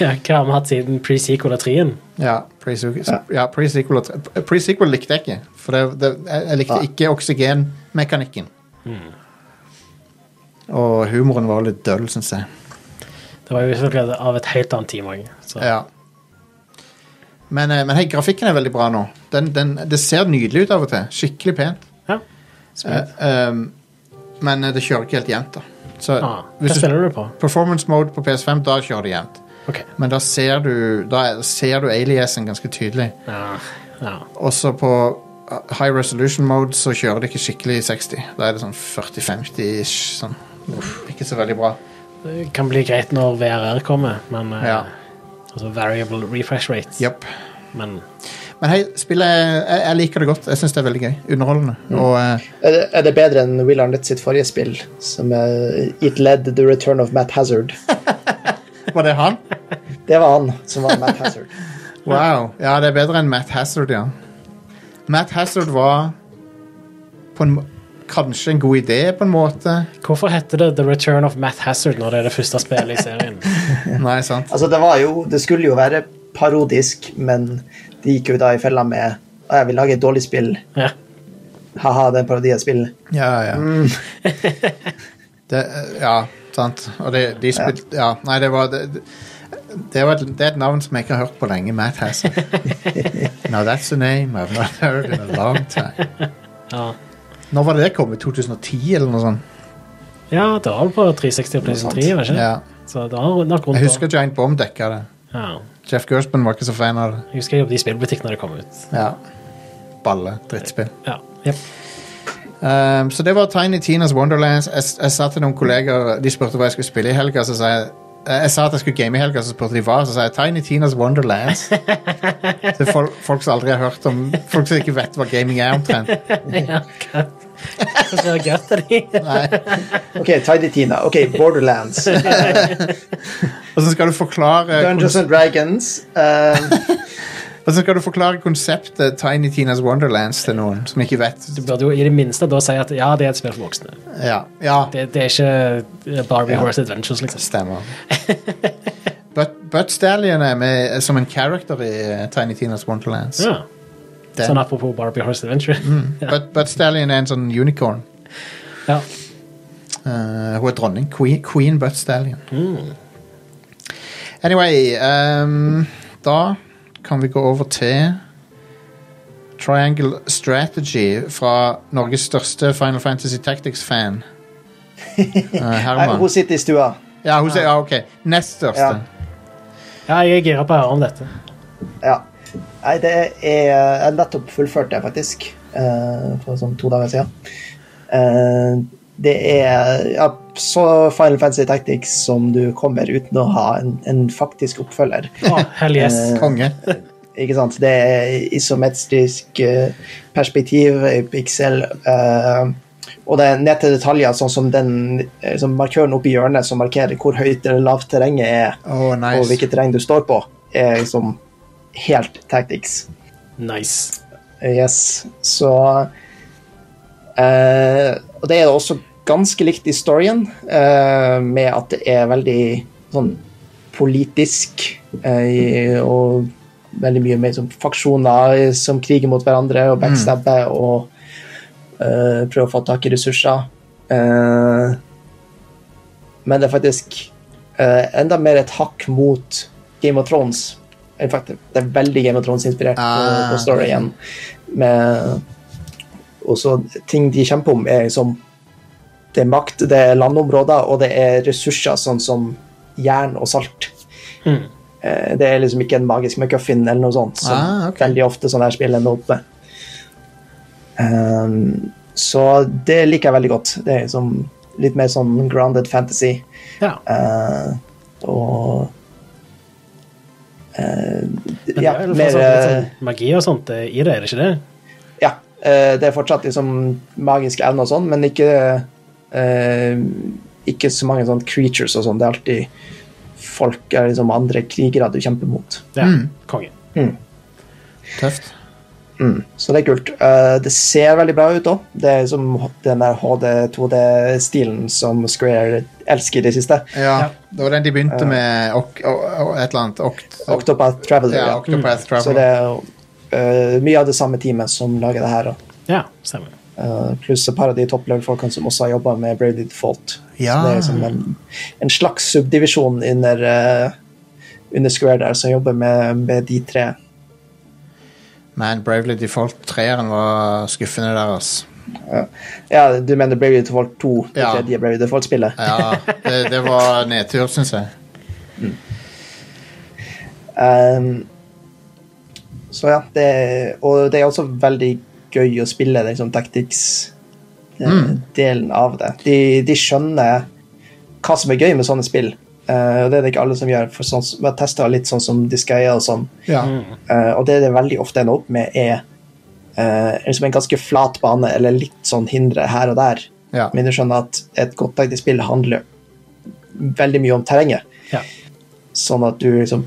Speaker 2: Ja, Hva har vi hatt siden pre-sequel av trien?
Speaker 1: Ja, pre-sequel ja, pre-sequel og tre- pre-sequel likte jeg ikke. For det, det, jeg jeg likte
Speaker 3: Nei.
Speaker 1: ikke oksygenmekanikken. Og humoren var litt døll, syns jeg.
Speaker 2: Det var jo selvfølgelig av et helt annet team òg.
Speaker 1: Ja. Men, eh, men hei, grafikken er veldig bra nå. Den, den, det ser nydelig ut av og til. Skikkelig pent.
Speaker 2: Ja.
Speaker 1: Eh, um, men eh, det kjører ikke helt jevnt, da. Så
Speaker 2: Ah,
Speaker 1: hvis
Speaker 2: hva
Speaker 1: du-
Speaker 2: spiller du på?
Speaker 1: performance mode på PS5, da kjører det jevnt.
Speaker 2: Ok.
Speaker 1: Men da ser du, da er- ser du aliasen ganske tydelig.
Speaker 2: Ja. ja.
Speaker 1: Også på eh, high resolution mode så kjører det ikke skikkelig 60. Da er det sånn 40-50-ish. Sånn. Ikke så veldig bra.
Speaker 2: Det kan bli greit når VRR kommer, men eh,
Speaker 1: Ja.
Speaker 2: Altså variable refresh rate.
Speaker 1: Japp.
Speaker 2: Men
Speaker 1: Men hei, spillet er- jeg, jeg liker det godt. Jeg syns det er veldig gøy. Underholdende.
Speaker 2: Mm.
Speaker 1: Og eh,
Speaker 3: Er det, er det bedre enn Will Arnett sitt forrige spill, som er It Led The Return of Matt Hazard?
Speaker 1: var det han?
Speaker 3: Det var han som var Matt Hazard.
Speaker 1: Wow. Ja, det er bedre enn Matt Hazard, ja. Matt Hazard var på en, må- kanskje en god idé, på en måte.
Speaker 2: hvorfor heter det The Return of Matt Hazard når det er det første spillet i serien?
Speaker 1: Nei, sant?
Speaker 3: Altså, det var jo Det skulle jo være parodisk, men de gikk jo da i fella med «Å, jeg vil lage et dårlig spill.
Speaker 2: ja.
Speaker 3: Ha-ha, det er en parodi av et spill.
Speaker 1: Ja, ja. Mm. det, ja, sant. Og det, de spilte ja. Nei, det var det, det, var et, det er et navn som jeg ikke har hørt på lenge. Matt Hazard. Now that's a name I've not heard in a long time.
Speaker 2: Ja.
Speaker 1: Når var det det kom? I 2010, eller noe sånt?
Speaker 2: ja, det var vel på 360 og PlayStation 3, var det ikke?
Speaker 1: Ja.
Speaker 2: Så det var nok rundt
Speaker 1: Jeg
Speaker 2: da.
Speaker 1: husker Giant Bomb dekka det.
Speaker 2: Ja.
Speaker 1: Jeff Gershman var ikke så fan av det.
Speaker 2: Jeg husker jeg jobbet i spillbutikk når det kom ut.
Speaker 1: Ja. balle drittspill.
Speaker 2: Ja. Jep.
Speaker 1: Ehm, så det var Tiny Tinas Wonderlands. Jeg, jeg sa til noen kolleger De spurte hva jeg skulle spille i helga. Så sa jeg eh, jeg sa at jeg skulle game i helga, så spurte de hva. Så sa jeg Tiny Tinas Wonderlands. Så folk, folk som aldri har hørt om Folk som ikke vet hva gaming er, omtrent.
Speaker 2: Ja, godt. Det var godt av de.
Speaker 3: OK, Tidy Tina. OK, Borderlands.
Speaker 1: Og så skal du forklare
Speaker 3: Dungeons and Dragons. eh,
Speaker 1: Og så skal du forklare konseptet Tiny Tinas Wonderlands til noen som ikke vet.
Speaker 2: Du burde jo i det minste da si at ja, det er et spill for voksne.
Speaker 1: Ja, ja
Speaker 2: Det, det er ikke eh, Barbie
Speaker 1: Ja.
Speaker 2: Horse Adventures, liksom.
Speaker 1: stemmer. But- Butt Stallion er med som en character i eh, Tiny Tinas Wonderlands.
Speaker 2: Ja.
Speaker 1: Den-
Speaker 2: Sånn apropos Barbie Horse Adventure.
Speaker 3: Mm.
Speaker 1: Butt, Butt Stallion er en sånn unicorn.
Speaker 2: Ja.
Speaker 1: Eh, hun er dronning. Queen, Queen Butt Stallion.
Speaker 3: Hmm.
Speaker 1: Anyway, ehm, da kan vi gå over til Triangle Strategy fra Norges største Final Fantasy Tactics-fan. Eh,
Speaker 3: nei,
Speaker 1: Herman.
Speaker 3: hun sitter i stua.
Speaker 1: Ja, hun sier, ja, ok. Nest største.
Speaker 3: Ja.
Speaker 2: ja, jeg er gira på å høre om dette.
Speaker 3: Ja. Nei, det er Jeg nettopp fullførte det, faktisk. eh, for sånn to dager siden. Eh, det er ja, så Final Fantasy Tactics som du kommer uten å ha en, en faktisk oppfølger.
Speaker 2: Å, hell yes.
Speaker 3: Eh,
Speaker 1: Konge.
Speaker 3: Ikke sant? Det er isometrisk eh, perspektiv i piksel. eh, og det er ned til detaljer, sånn som den eh, som markøren oppe i hjørnet som markerer hvor høyt eller lavt terrenget er,
Speaker 1: Åh, nice.
Speaker 3: og hvilket terreng du står på, er liksom helt tactics.
Speaker 2: Nice.
Speaker 3: Yes, så eh, Og det er også ganske likt i storyen, eh, med at det er veldig sånn politisk eh, og veldig mye mer som faksjoner som kriger mot hverandre og backstabber og eh, prøver å få tak i ressurser. Eh, men det er faktisk eh, enda mer et hakk mot Game of Thrones. In fact, det er veldig Game of Thrones-inspirert på,
Speaker 1: Ah.
Speaker 3: på storyen. Med, og så ting de kjemper om, er liksom Det er makt, det er landområder, og det er ressurser sånn som jern og salt.
Speaker 2: Hmm.
Speaker 3: Eh, Det er liksom ikke en magisk McGuffin eller noe sånt, som
Speaker 1: Ah, ok.
Speaker 3: veldig ofte sånne her spill ender opp med. Ehm, så det liker jeg veldig godt. Det er liksom litt mer sånn grounded fantasy.
Speaker 2: Ja.
Speaker 3: Eh, og eh,
Speaker 2: Men
Speaker 3: Ja,
Speaker 2: det er vel
Speaker 3: mer
Speaker 2: fortsatt litt
Speaker 3: eh,
Speaker 2: sånn magi og sånt eh, i det, er det ikke det?
Speaker 3: Ja. eh, det er fortsatt liksom magiske evner og sånn, men ikke eh, Ikke så mange sånne creatures og sånn. Det er alltid folk er liksom andre krigere du kjemper mot.
Speaker 2: Ja. Konge.
Speaker 1: Tøft.
Speaker 3: Mm. Så det er kult. Eh, det ser veldig bra ut òg. Det er som den der HD2D-stilen som Square elsker i det siste.
Speaker 1: Ja, det var den de begynte med. Ok, og, og, et eller annet. Oct
Speaker 3: Octopath Traveler.
Speaker 1: ja,
Speaker 3: ja. Mm.
Speaker 1: Octopath
Speaker 3: Så det
Speaker 1: Traveler.
Speaker 3: er eh, mye av det samme teamet som lager det her. da.
Speaker 2: Ja, stemmer.
Speaker 3: Eh, pluss et par av de topplevel-folkene som også har jobba med Brady Default.
Speaker 1: Ja.
Speaker 3: Så det er liksom en, en slags subdivisjon under, eh, under Square der, som jobber med, med de tre.
Speaker 1: Man, Bravely Default 3-eren var skuffende der, ass.
Speaker 3: Ja, du mener Brady Default 2, det
Speaker 1: Ja.
Speaker 3: tredje Brady Default-spillet.
Speaker 1: Ja, det, det var nedtur, syns jeg.
Speaker 3: Ehm, så ja, det, og det er også veldig gøy å spille den liksom, tactics-delen av det. De, de skjønner hva som er gøy med sånne spill. Eh, og det er det ikke alle som gjør. For sånn, som- jeg testa litt sånn som Disgaea og sånn.
Speaker 1: Ja.
Speaker 3: Eh, og det det veldig ofte ender opp med, er eh, liksom en ganske flat bane eller litt sånn hindre her og der.
Speaker 1: Ja.
Speaker 3: Men du skjønner at et godt taktisk spill handler veldig mye om terrenget.
Speaker 2: Ja.
Speaker 3: Sånn at du liksom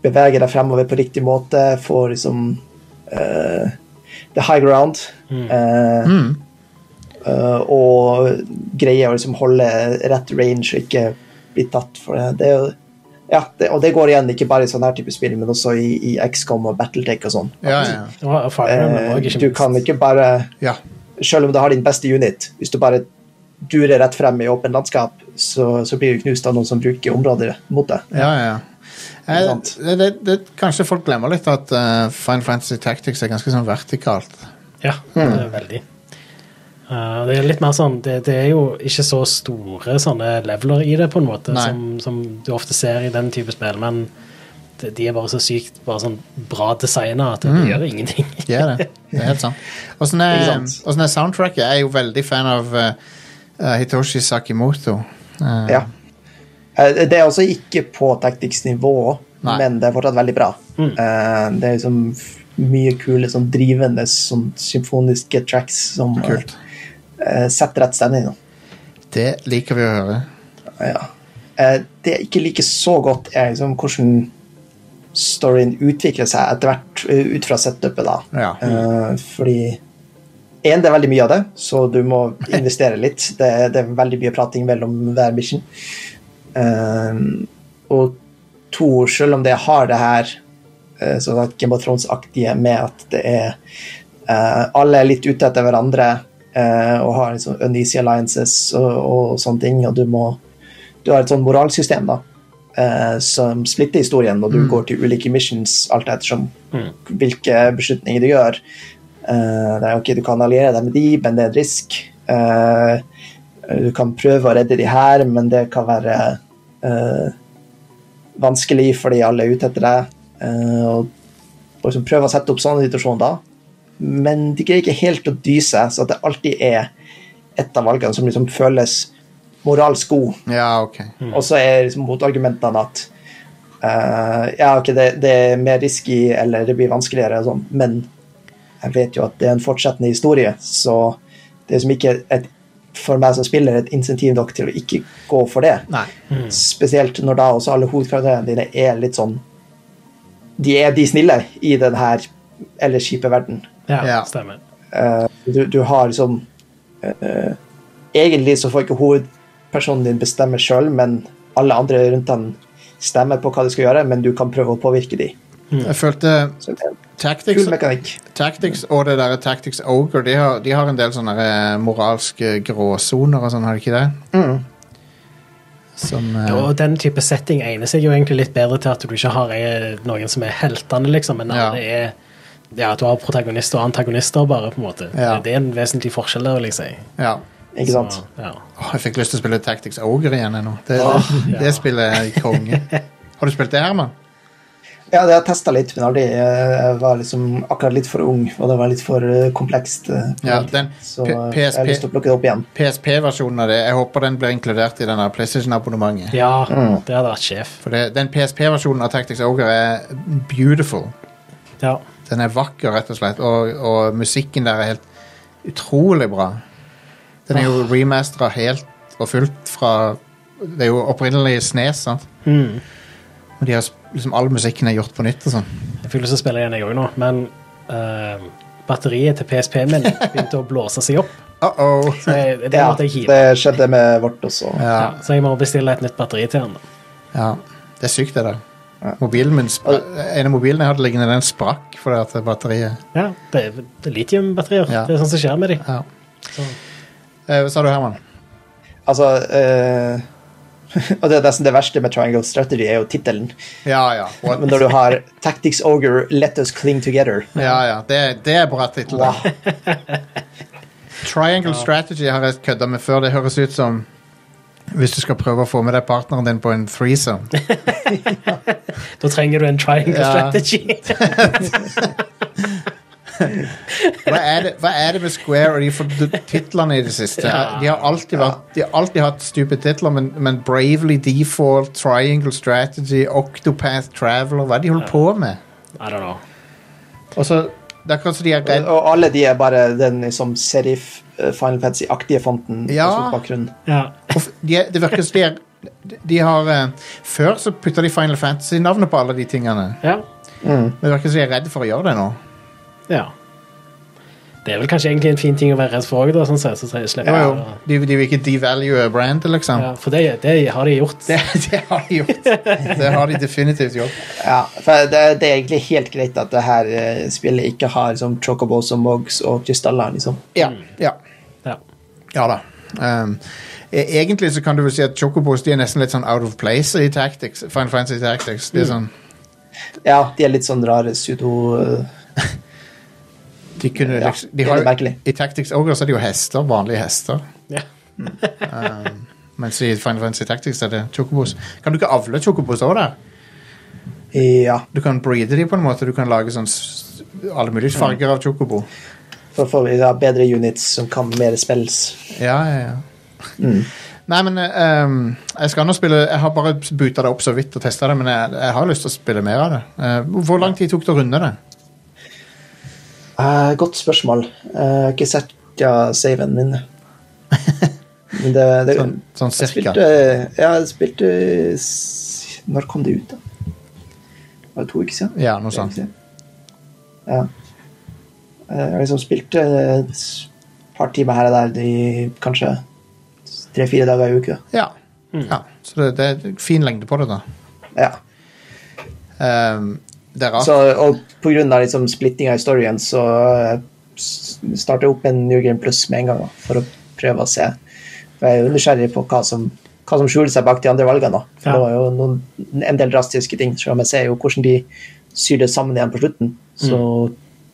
Speaker 3: beveger deg fremover på riktig måte, får liksom eh, the high ground.
Speaker 2: Mm.
Speaker 3: eh, eh, og greier å liksom holde rett range og ikke bli tatt for det. det er jo ja, det, og det går igjen ikke bare i sånne her type spill, men også i, i XCOM og Battletech og sånn.
Speaker 1: Ja, ja.
Speaker 2: Og Fire
Speaker 3: Eh,
Speaker 2: Emblem også, ikke
Speaker 3: du
Speaker 2: minst.
Speaker 3: kan ikke bare,
Speaker 1: ja.
Speaker 3: selv om du har din beste unit, hvis du bare durer rett frem i åpen landskap, så, så blir du knust av noen som bruker områder mot deg.
Speaker 1: ja, ja.
Speaker 3: Ikke
Speaker 1: Eh,
Speaker 3: sant?
Speaker 1: det, det, det, kanskje folk glemmer litt at eh, Final Fantasy Tactics er ganske sånn vertikalt.
Speaker 2: Ja, det
Speaker 1: Mm.
Speaker 2: er veldig. Uh, det er litt mer sånn det, det er jo ikke så store sånne leveler i det, på en måte,
Speaker 1: Nei.
Speaker 2: som, som du ofte ser i den type spill, men at de er bare så sykt bare sånn bra designa at de
Speaker 1: Mm.
Speaker 2: gjør ingenting.
Speaker 1: De er det. Det er helt sant. sånn, eh, Åssen er,
Speaker 3: Ikke sant?
Speaker 1: hvordan er soundtracket? Jeg er jo veldig fan av eh, eh, Hitoshi Sakimoto. Eh,
Speaker 3: Ja. Eh, Det er også ikke på tactics-nivå,
Speaker 1: Nei. Mm.
Speaker 3: men det er fortsatt veldig bra. Eh, Det er liksom f- mye kule sånn drivende sånn symfoniske tracks som eh,
Speaker 1: Kult.
Speaker 3: eh, setter rett stemning. da.
Speaker 1: Det liker vi å høre.
Speaker 3: Ja. Eh, Det jeg ikke liker så godt, er liksom hvordan storyen utvikler seg etter hvert eh, ut fra setupet. da.
Speaker 1: Ja.
Speaker 3: Eh, Fordi en, det er veldig mye av det, så du må investere litt. Det er, det er veldig mye prating mellom hver mission. Eh, og to, selv om det har det her eh, sånn at Game of Thrones-aktige med at det er eh, Alle er litt ute etter hverandre eh, og har liksom uneasy alliances og, og sånne ting, og du må Du har et sånn moralsystem, da. eh, som splitter historien når du går til ulike missions, alt ettersom hvilke beslutninger du gjør. Eh, det er ok, Du kan alliere deg med de, men det er et risk. Eh, du kan prøve å redde de her, men det kan være eh, vanskelig fordi alle er ute etter deg. eh, og og liksom prøve å sette opp sånne situasjoner da. Men de greier ikke helt å dy seg, så at det alltid er et av valgene som liksom føles moralsk god.
Speaker 1: Ja, ok.
Speaker 3: Og så er liksom motargumentene at eh, ja, ok, det, det er mer risky, eller det blir vanskeligere, og sånn, men jeg vet jo at det er en fortsettende historie, så det er som ikke et, for meg som spiller et insentiv nok til å ikke gå for det.
Speaker 1: Nei.
Speaker 3: Spesielt når da også alle hovedkarakterene dine er litt sånn De er de snille i den her ellers kjipe verden.
Speaker 2: Ja,
Speaker 1: Ja.
Speaker 2: stemmer.
Speaker 3: Eh, Du, du har liksom eh, Egentlig så får ikke hovedpersonen din bestemme sjøl, men alle andre rundt han stemmer på hva de skal gjøre, men du kan prøve å påvirke de.
Speaker 1: Jeg følte
Speaker 3: Så det er en
Speaker 1: Tactics,
Speaker 3: Mm. Kul mekanikk.
Speaker 1: Tactics og det der Tactics Ogre de har, de har en del sånne eh, moralske gråsoner og sånn, har de ikke det?
Speaker 3: Mm.
Speaker 1: Som eh,
Speaker 2: Og den type setting egner seg jo egentlig litt bedre til at du ikke har eh, noen som er heltene, liksom, men
Speaker 1: Ja.
Speaker 2: alle er ja, at du har protagonister og antagonister, bare, på en måte.
Speaker 1: Ja.
Speaker 2: Det er en vesentlig forskjell der, vil jeg si.
Speaker 1: Ja.
Speaker 3: Ikke sant?
Speaker 2: Så, ja.
Speaker 1: Åh, jeg fikk lyst til å spille Tactics Ogre igjen ennå. Det,
Speaker 2: Åh,
Speaker 1: det, det spillet er konge. Har du spilt det, Herman?
Speaker 3: Ja, det har jeg testa litt, men aldri. eh, Jeg var liksom akkurat litt for ung, og det var litt for eh, komplekst. eh,
Speaker 1: Ja, den
Speaker 3: Så
Speaker 1: P-
Speaker 3: eh, jeg
Speaker 1: PSP
Speaker 3: har lyst til å plukke det opp igjen.
Speaker 1: PSP-versjonen av det. Jeg håper den blir inkludert i denne PlayStation-abonnementet.
Speaker 2: ja,
Speaker 1: Mm.
Speaker 2: det hadde vært sjef.
Speaker 1: For det, den PSP-versjonen av Tactics Ogre er beautiful.
Speaker 2: Ja.
Speaker 1: Den er vakker, rett og slett, og, og musikken der er helt utrolig bra. Den er jo remastera helt og fullt fra Det er jo opprinnelig Snes, sant?
Speaker 3: Mm.
Speaker 1: Og de har sp- liksom all musikken er gjort på nytt og sånn.
Speaker 2: Jeg fikk lyst til å spille igjen, jeg òg nå, men eh, batteriet til PSP-en min begynte å blåse seg opp.
Speaker 1: Uh-oh.
Speaker 2: Så jeg, det
Speaker 3: Ja,
Speaker 2: måtte jeg hive.
Speaker 3: det skjedde med vårt også.
Speaker 2: Ja.
Speaker 1: Ja,
Speaker 2: Så jeg må bestille et nytt batteri til den. da.
Speaker 1: ja. Det er sykt, det der. Mobilen min spra- En av mobilene jeg hadde liggende, den sprakk fordi at batteriet
Speaker 2: Ja, det er det er litiumbatterier.
Speaker 1: Ja.
Speaker 2: Det er sånt som skjer med dem.
Speaker 1: Ja.
Speaker 3: Sånn.
Speaker 1: Eh, Hva sa du, Herman?
Speaker 3: Altså eh, Og det er nesten det verste med Triangle Strategy, er jo tittelen.
Speaker 1: Ja, ja. What?
Speaker 3: Men når du har Tactics Ogre, Let Us Cling Together
Speaker 1: ja, ja. Det, det er bra tittel.
Speaker 3: Wow.
Speaker 1: Triangle Strategy har jeg kødda med før. Det høres ut som hvis du skal prøve å få med deg partneren din på en threesome.
Speaker 2: Da trenger du en triangle
Speaker 1: Ja.
Speaker 2: strategy.
Speaker 1: Hva er det, hva er det med Square og de for- de titlene i det siste? De har alltid, vært, de har alltid hatt stupid titler, men, men Bravely Default, Triangle Strategy, Octopath Traveler Hva er det de holder på med?
Speaker 2: I don't know.
Speaker 1: Og så, det er akkurat som de er redd
Speaker 3: Og alle de er bare den liksom serif eh, Final Fantasy-aktige fonten. på
Speaker 1: Ja.
Speaker 3: bakgrunn.
Speaker 2: Ja.
Speaker 1: og f- de, er- Det virker som de er de har, eh, Før så putta de Final Fantasy-navnet på alle de tingene.
Speaker 2: ja.
Speaker 1: Men det virker som de er redd for å gjøre det nå.
Speaker 2: Ja. Det er vel kanskje egentlig en fin ting å være redd for òg, da. Sånn sett, så tre- slipper
Speaker 1: Jo,
Speaker 2: jeg
Speaker 1: jo.
Speaker 2: å-
Speaker 1: De, de vil ikke devalue brandet, liksom.
Speaker 2: ja, For det, det har de gjort.
Speaker 1: Det, det har de gjort. Det har de definitivt gjort.
Speaker 3: Ja, for det, det er egentlig helt greit at det her eh, spillet ikke har liksom, chocobos og mugs og krystaller. Liksom.
Speaker 1: Ja, ja.
Speaker 2: Ja.
Speaker 1: ja da. Um, e- egentlig så kan du vel si at Chocobos de er nesten litt sånn out of place i Tactics. Final Fantasy Tactics. De, er sånn,
Speaker 3: Ja, de er litt sånn rare pseudo... eh,
Speaker 1: de kunne
Speaker 3: Ja,
Speaker 1: liksom de har,
Speaker 3: det er merkelig.
Speaker 1: I Tactics Ogre så er det jo hester, vanlige hester. Mm. Um,
Speaker 2: Ja.
Speaker 1: Mens i Final Fantasy Tactics er det Chocobos. Kan du ikke avle Chocobos òg der?
Speaker 3: Ja,
Speaker 1: Du kan breede de på en måte. Du kan lage sånn s- alle mulige farger av Chocobo.
Speaker 3: for får vi da bedre units som kan mer spells.
Speaker 1: Ja, ja, ja. Mm. Nei, men eh, um, jeg skal nå spille Jeg har bare buta det opp så vidt og testa det, men jeg, jeg har lyst til å spille mer av det. Eh, hvor lang tid tok det å runde det?
Speaker 3: Eh, godt spørsmål. Eh, Jeg har ikke sett ja, saven min. Men det, det
Speaker 1: Sånn, sånn
Speaker 3: jeg
Speaker 1: cirka?
Speaker 3: spilte, ja, jeg spilte s- Når kom det ut, da? Var det to uker siden?
Speaker 1: Ja, noe sånt.
Speaker 3: Ja. Eh, Jeg har liksom spilte et par timer her og der i kanskje tre-fire dager i uka.
Speaker 1: Ja.
Speaker 2: Mm.
Speaker 1: ja. Så det, det er fin lengde på det, da.
Speaker 3: Ja.
Speaker 1: Um, det er rart.
Speaker 3: Så, og på grunn av liksom splittinga i storyen, så eh, s- starter jeg opp en New Game Plus med en gang, da, for å prøve å se. For jeg er jo nysgjerrig på hva som, hva som skjuler seg bak de andre valgene. da. For
Speaker 2: Ja.
Speaker 3: Det var jo noen, en del drastiske ting, så jeg ser jo hvordan de syr det sammen igjen på slutten. Så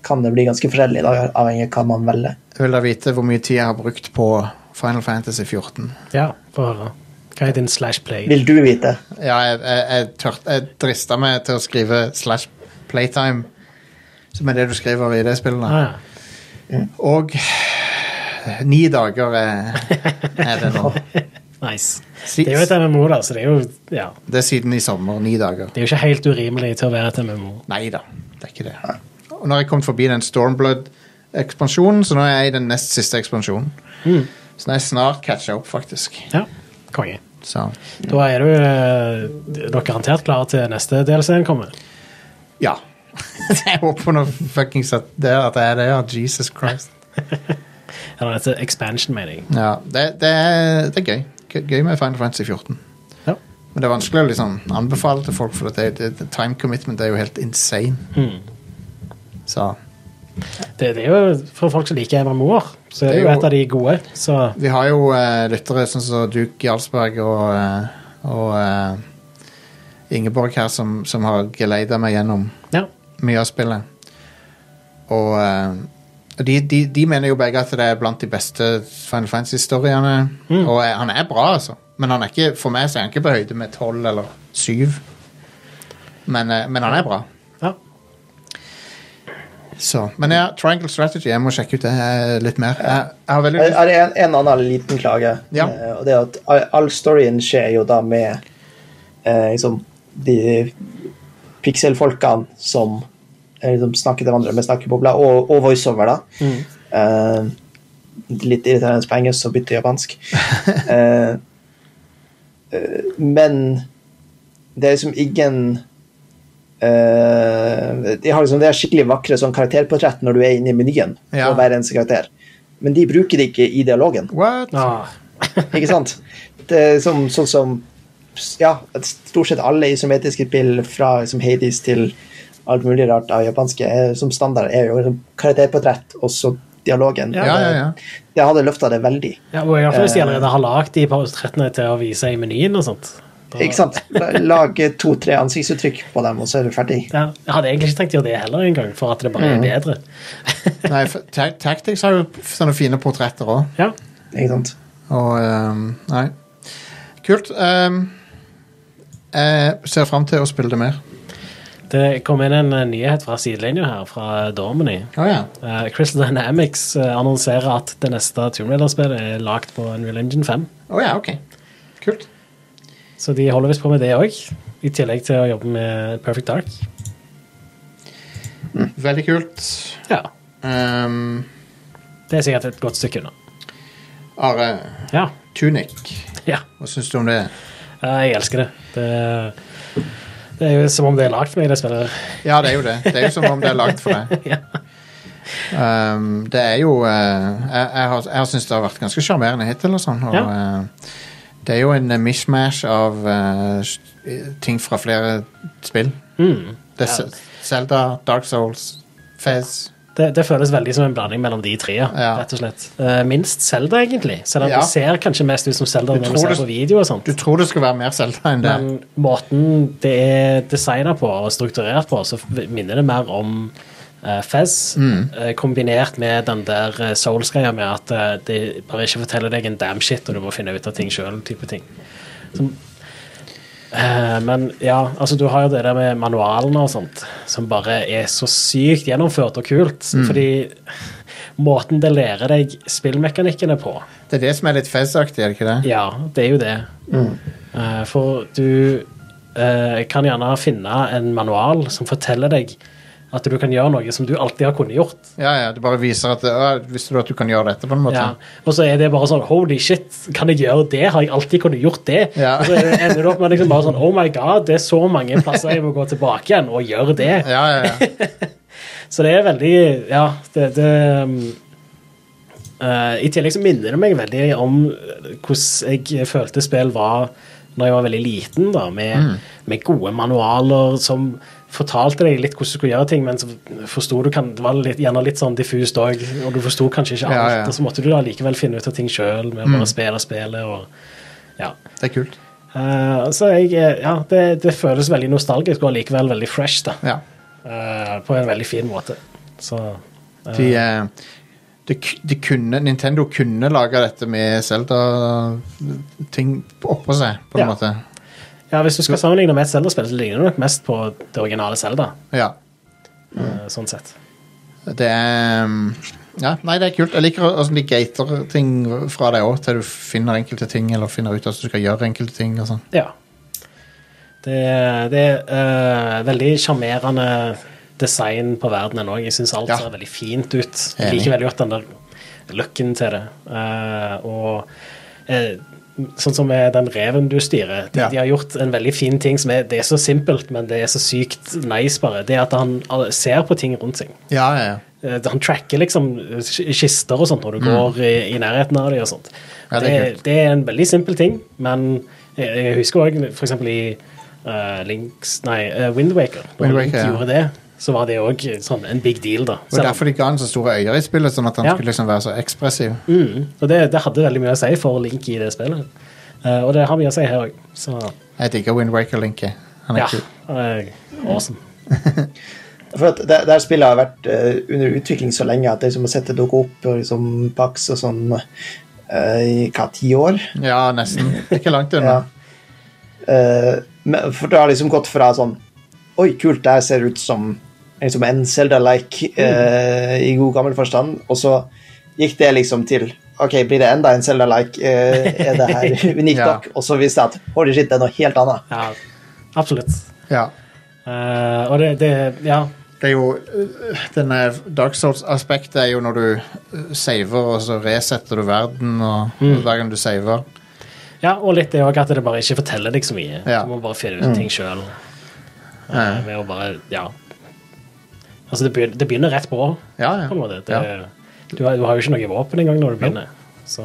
Speaker 3: kan det bli ganske forskjellig, da, avhengig av hva man velger.
Speaker 1: Jeg vil da vite hvor mye tid jeg har brukt på Final Fantasy 14.
Speaker 2: Ja, få høre. Hva er din slash play?
Speaker 3: Vil du vite?
Speaker 1: Ja, jeg, jeg, jeg, tørt, jeg drista meg til å skrive slash playtime, som er det du skriver i det spillet. da.
Speaker 2: Ah, ja.
Speaker 1: Og ni dager er, er det nå.
Speaker 2: Nice.
Speaker 1: Si-
Speaker 2: Det er jo et MMO, da, så det er jo ja,
Speaker 1: Det er siden i sommer. Ni dager.
Speaker 2: Det er jo ikke helt urimelig til å være et MMO.
Speaker 1: Nei da, det er ikke det. Og nå har jeg kommet forbi den Stormblood-ekspansjonen, så nå er jeg i den nest siste ekspansjonen. Så nå er jeg snart catcha opp, faktisk.
Speaker 2: Ja, konge.
Speaker 1: Så
Speaker 2: Da er du eh, nok garantert klar til neste DLC-en kommer.
Speaker 1: ja. jeg håper nå fuckings at det at jeg er det, ja. Jesus Christ.
Speaker 2: Eller dette expansion, mener jeg.
Speaker 1: Ja, det, det, er, det er gøy. Gøy- Gøy med Final Fantasy 14.
Speaker 2: Ja.
Speaker 1: Men det er vanskelig å liksom anbefale til folk, for det, det, det, time commitment er jo helt insane. Så
Speaker 2: Det, det er jo for folk som liker MMO-er, så er det jo et av de gode. Så
Speaker 1: vi har jo eh, lyttere sånn som Duke Jarlsberg og, eh, og eh, Ingeborg her, som, som har geleida meg gjennom
Speaker 2: ja.
Speaker 1: mye av spillet. Og eh, de, de, de mener jo begge at det er blant de beste Final Fantasy-storyene. Og eh, han er bra, altså. Men han er ikke, for meg så er han ikke på høyde med 12 eller 7. Men, eh, men han er bra.
Speaker 2: ja.
Speaker 1: Så. Men ja, Triangle Strategy, jeg må sjekke ut det eh, litt mer. Jeg, jeg har veldig
Speaker 3: Er
Speaker 1: lyst
Speaker 3: Eh, er det en, en annen liten klage?
Speaker 1: Ja.
Speaker 3: eh, Og det er at all- all storyen skjer jo da med eh, liksom de pikselfolkene som eh, liksom, snakker til hverandre med snakkebobler, og, og voiceover, da.
Speaker 1: Mm.
Speaker 3: Eh, litt irriterende på engelsk, så bytter jeg japansk. Eh, eh, men det er liksom ingen eh, de har liksom, Det er skikkelig vakre sånn karakterportrett når du er inne i menyen.
Speaker 1: Ja.
Speaker 3: Og hver eneste karakter. Men de bruker det ikke i dialogen.
Speaker 1: What?
Speaker 2: Ah,
Speaker 3: Ikke sant? Det er som, sånn som Ja, at stort sett alle isometriske spill fra liksom, Hades til alt mulig rart av japanske er, som standard er jo liksom, karakterportrett og så dialogen.
Speaker 1: Ja, ja, ja.
Speaker 3: Det hadde løfta det veldig.
Speaker 2: ja, og iallfall hvis de allerede har lagd de portrettene til å vise i menyen og sånt. Da-
Speaker 3: Ikke sant? La- Lag to-tre ansiktsuttrykk på dem, og så er du ferdig.
Speaker 2: Ja, jeg hadde egentlig ikke tenkt å gjøre det heller engang, for at det bare er bedre.
Speaker 1: Nei, for Ta- Tactics har jo f- sånne fine portretter òg.
Speaker 2: Ja.
Speaker 3: Ikke sant?
Speaker 1: Og ehm, Nei. Kult. ehm, jeg ser fram til å spille det mer.
Speaker 2: Det kom inn en eh, nyhet fra sidelinja her, fra Dormany.
Speaker 1: Å ja.
Speaker 2: Eh, Crystal Dynamics eh, annonserer at det neste Tomb Raider-spillet er lagd på Unreal Engine 5.
Speaker 1: Å ja, ok. Kult.
Speaker 2: Så de holder visst på med det òg, i tillegg til å jobbe med Perfect Dark.
Speaker 1: Veldig kult.
Speaker 2: Ja,
Speaker 1: Ehm,
Speaker 2: Det er sikkert et godt stykke unna.
Speaker 1: Are,
Speaker 2: Ja.
Speaker 1: Tunic,
Speaker 2: ja.
Speaker 1: hva syns du om det?
Speaker 2: Eh, Jeg elsker det. Det, det er jo som om det er lagd for meg, det spillet.
Speaker 1: Ja, det er jo det. Det er jo som om det er lagd for deg. Ehm, det er jo eh, Jeg, jeg har, jeg har syntes det har vært ganske sjarmerende hittil. Og sånn, og,
Speaker 2: Ja.
Speaker 1: eh, det er jo en eh, mishmash av eh, s- eh, ting fra flere spill.
Speaker 2: Mm.
Speaker 1: Det er Selda, Dark Souls, Fez
Speaker 2: Det, det føles veldig som en blanding mellom de tre. Ja.
Speaker 1: Ja.
Speaker 2: rett og slett. Eh, Minst Zelda, egentlig. Selv om
Speaker 1: Ja.
Speaker 2: det ser kanskje mest ut som Zelda
Speaker 1: Du
Speaker 2: når du
Speaker 1: tror
Speaker 2: ser
Speaker 1: det-
Speaker 2: på video. og sånt.
Speaker 1: Du tror det skal være mer Selda enn det.
Speaker 2: Men måten det er designa på og strukturert på, så minner det mer om eh, Fez, eh, kombinert med den der eh, Souls-greia med at eh, de bare ikke forteller deg en damn shit, og du må finne ut av ting sjøl. Eh, men ja, altså du har jo det der med manualene og sånt, som bare er så sykt gjennomført og kult. Fordi måten det lærer deg spillmekanikkene på,
Speaker 1: Det er det som er litt fezaktig, er det ikke det?
Speaker 2: ja, det er jo det.
Speaker 1: Mm.
Speaker 2: Eh, for du eh, kan gjerne finne en manual som forteller deg at du kan gjøre noe som du alltid har kunnet gjort.
Speaker 1: Ja, ja, det bare viser at det, ja, Visste du at du kan gjøre dette, på en måte?
Speaker 2: Ja. Og så er det bare sånn Holy shit, kan jeg gjøre det? Har jeg alltid kunnet gjort det?
Speaker 1: Ja.
Speaker 2: Og så er det- ender du opp med liksom bare sånn Oh my god, det er så mange plasser jeg må gå tilbake igjen og gjøre det.
Speaker 1: Ja, ja, ja.
Speaker 2: Så det er veldig Ja, det, det um, eh, I tillegg så minner det meg veldig om eh, hvordan jeg følte spill var når jeg var veldig liten, da, med,
Speaker 1: Mm.
Speaker 2: med gode manualer som fortalte deg litt hvordan du skulle gjøre ting, men så forsto du kan, det var litt, gjerne litt sånn diffust òg, og du forsto kanskje ikke alt.
Speaker 1: Ja, Mm. ja.
Speaker 2: Og så måtte du da likevel finne ut av ting sjøl med å bare spille spillet og ja.
Speaker 1: Det er kult.
Speaker 2: Eh, så jeg, eh, ja, det, det føles veldig nostalgisk og likevel veldig fresh, da.
Speaker 1: Ja.
Speaker 2: Eh, på en veldig fin måte. Så
Speaker 1: De, eh, de, k- de kunne, Nintendo kunne lage dette med Zelda-ting oppå seg, på en
Speaker 2: Ja.
Speaker 1: måte.
Speaker 2: ja, hvis du skal sammenligne med et Zelda-spill, så ligner det nok mest på det originale Zelda.
Speaker 1: Ja.
Speaker 2: eh, sånn sett.
Speaker 1: Det er um, ja, Nei, det er kult. Jeg liker åssen de gater ting fra deg òg, til du finner enkelte ting, eller finner ut at du skal gjøre enkelte ting. og sånn.
Speaker 2: Ja. Det, det er eh, veldig sjarmerende design på verdenen òg. Jeg syns alt
Speaker 1: Ja.
Speaker 2: ser veldig fint ut. Jeg
Speaker 1: Enig.
Speaker 2: liker veldig godt den der looken til det. Eh, og eh, sånn som med den reven du styrer. De,
Speaker 1: Ja.
Speaker 2: de har gjort en veldig fin ting som er Det er så simpelt, men det er så sykt nice, bare. Det er at han eh, ser på ting rundt seg.
Speaker 1: Ja, ja, ja.
Speaker 2: Eh, Han tracker liksom eh, sk- kister og sånt når du går i, i nærheten av dem og sånt.
Speaker 1: Mm. Ja, det
Speaker 2: det,
Speaker 1: er
Speaker 2: er
Speaker 1: kult.
Speaker 2: det er en veldig simpel ting, men jeg, jeg husker òg f.eks. i eh, Links Nei, uh, Windwaker. Når
Speaker 1: Wind
Speaker 2: Link
Speaker 1: Waker, ja.
Speaker 2: gjorde det, så var det òg sånn en big deal, da.
Speaker 1: Det var
Speaker 2: Selv om-
Speaker 1: derfor de ga han så store øyer i spillet, sånn at han
Speaker 2: Ja.
Speaker 1: skulle liksom være så ekspressiv.
Speaker 2: mm, og det, det hadde veldig mye å si for Link i det spillet. Eh, og det har mye å si her òg, så
Speaker 1: Jeg digger Wind Waker-Linke. Han er
Speaker 2: ja.
Speaker 1: kul.
Speaker 2: eh, awesome.
Speaker 3: For at det, det her spillet har vært eh, under utvikling så lenge at det liksom å sette det opp og liksom Pax og sånn eh, i hva, ti år?
Speaker 1: Ja, nesten. Det er Ikke langt unna.
Speaker 3: Ja. Eh, men, for det har liksom gått fra sånn Oi, kult, det her ser ut som liksom en Zelda-like eh, i god gammel forstand. Og så gikk det liksom til Ok, blir det enda en Zelda-like? eh, er det her unikt
Speaker 1: Ja.
Speaker 3: nok? Og så viste det at holy shit, det er noe helt annet.
Speaker 2: Ja, absolutt.
Speaker 1: Ja.
Speaker 2: Eh, og det, det Ja.
Speaker 1: Det er jo øh, Denne Dark Souls-aspektet er jo når du øh, saver, og så resetter du verden, og og hver gang du saver.
Speaker 2: Ja, og litt det òg at det bare ikke forteller deg så mye.
Speaker 1: Ja. Mm.
Speaker 2: Du må bare finne ut ting sjøl.
Speaker 1: Ja.
Speaker 2: Ved å bare Ja. Altså, det begynner, det begynner rett på,
Speaker 1: Ja, ja.
Speaker 2: på en måte. Det,
Speaker 1: ja.
Speaker 2: du, har, du har jo ikke noe våpen engang når du begynner. Så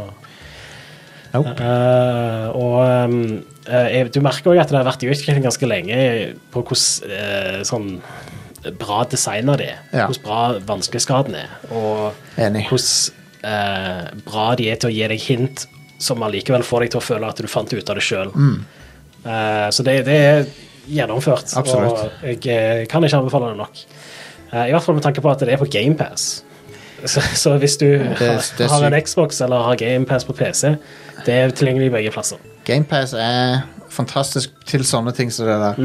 Speaker 1: Nope.
Speaker 2: Eh, og ehm, eh, jeg- du merker òg at det har vært i utvikling ganske lenge på hvordan eh, sånn bra designa det er.
Speaker 1: Ja.
Speaker 2: Hvordan bra vanskelighetsgraden er. Og
Speaker 1: Enig.
Speaker 2: hvordan eh, bra de er til å gi deg hint som allikevel får deg til å føle at du fant ut av det sjøl.
Speaker 1: Mm.
Speaker 2: så det, det er gjennomført.
Speaker 1: Absolutt.
Speaker 2: Og jeg eh, kan ikke anbefale det nok. Eh, I hvert fall med tanke på at det er på GamePass. Så, så hvis du
Speaker 1: det er
Speaker 2: har en
Speaker 1: sykt.
Speaker 2: Xbox eller har GamePass på PC, det er tilgjengelig begge plasser.
Speaker 1: GamePass er fantastisk til sånne ting som det der.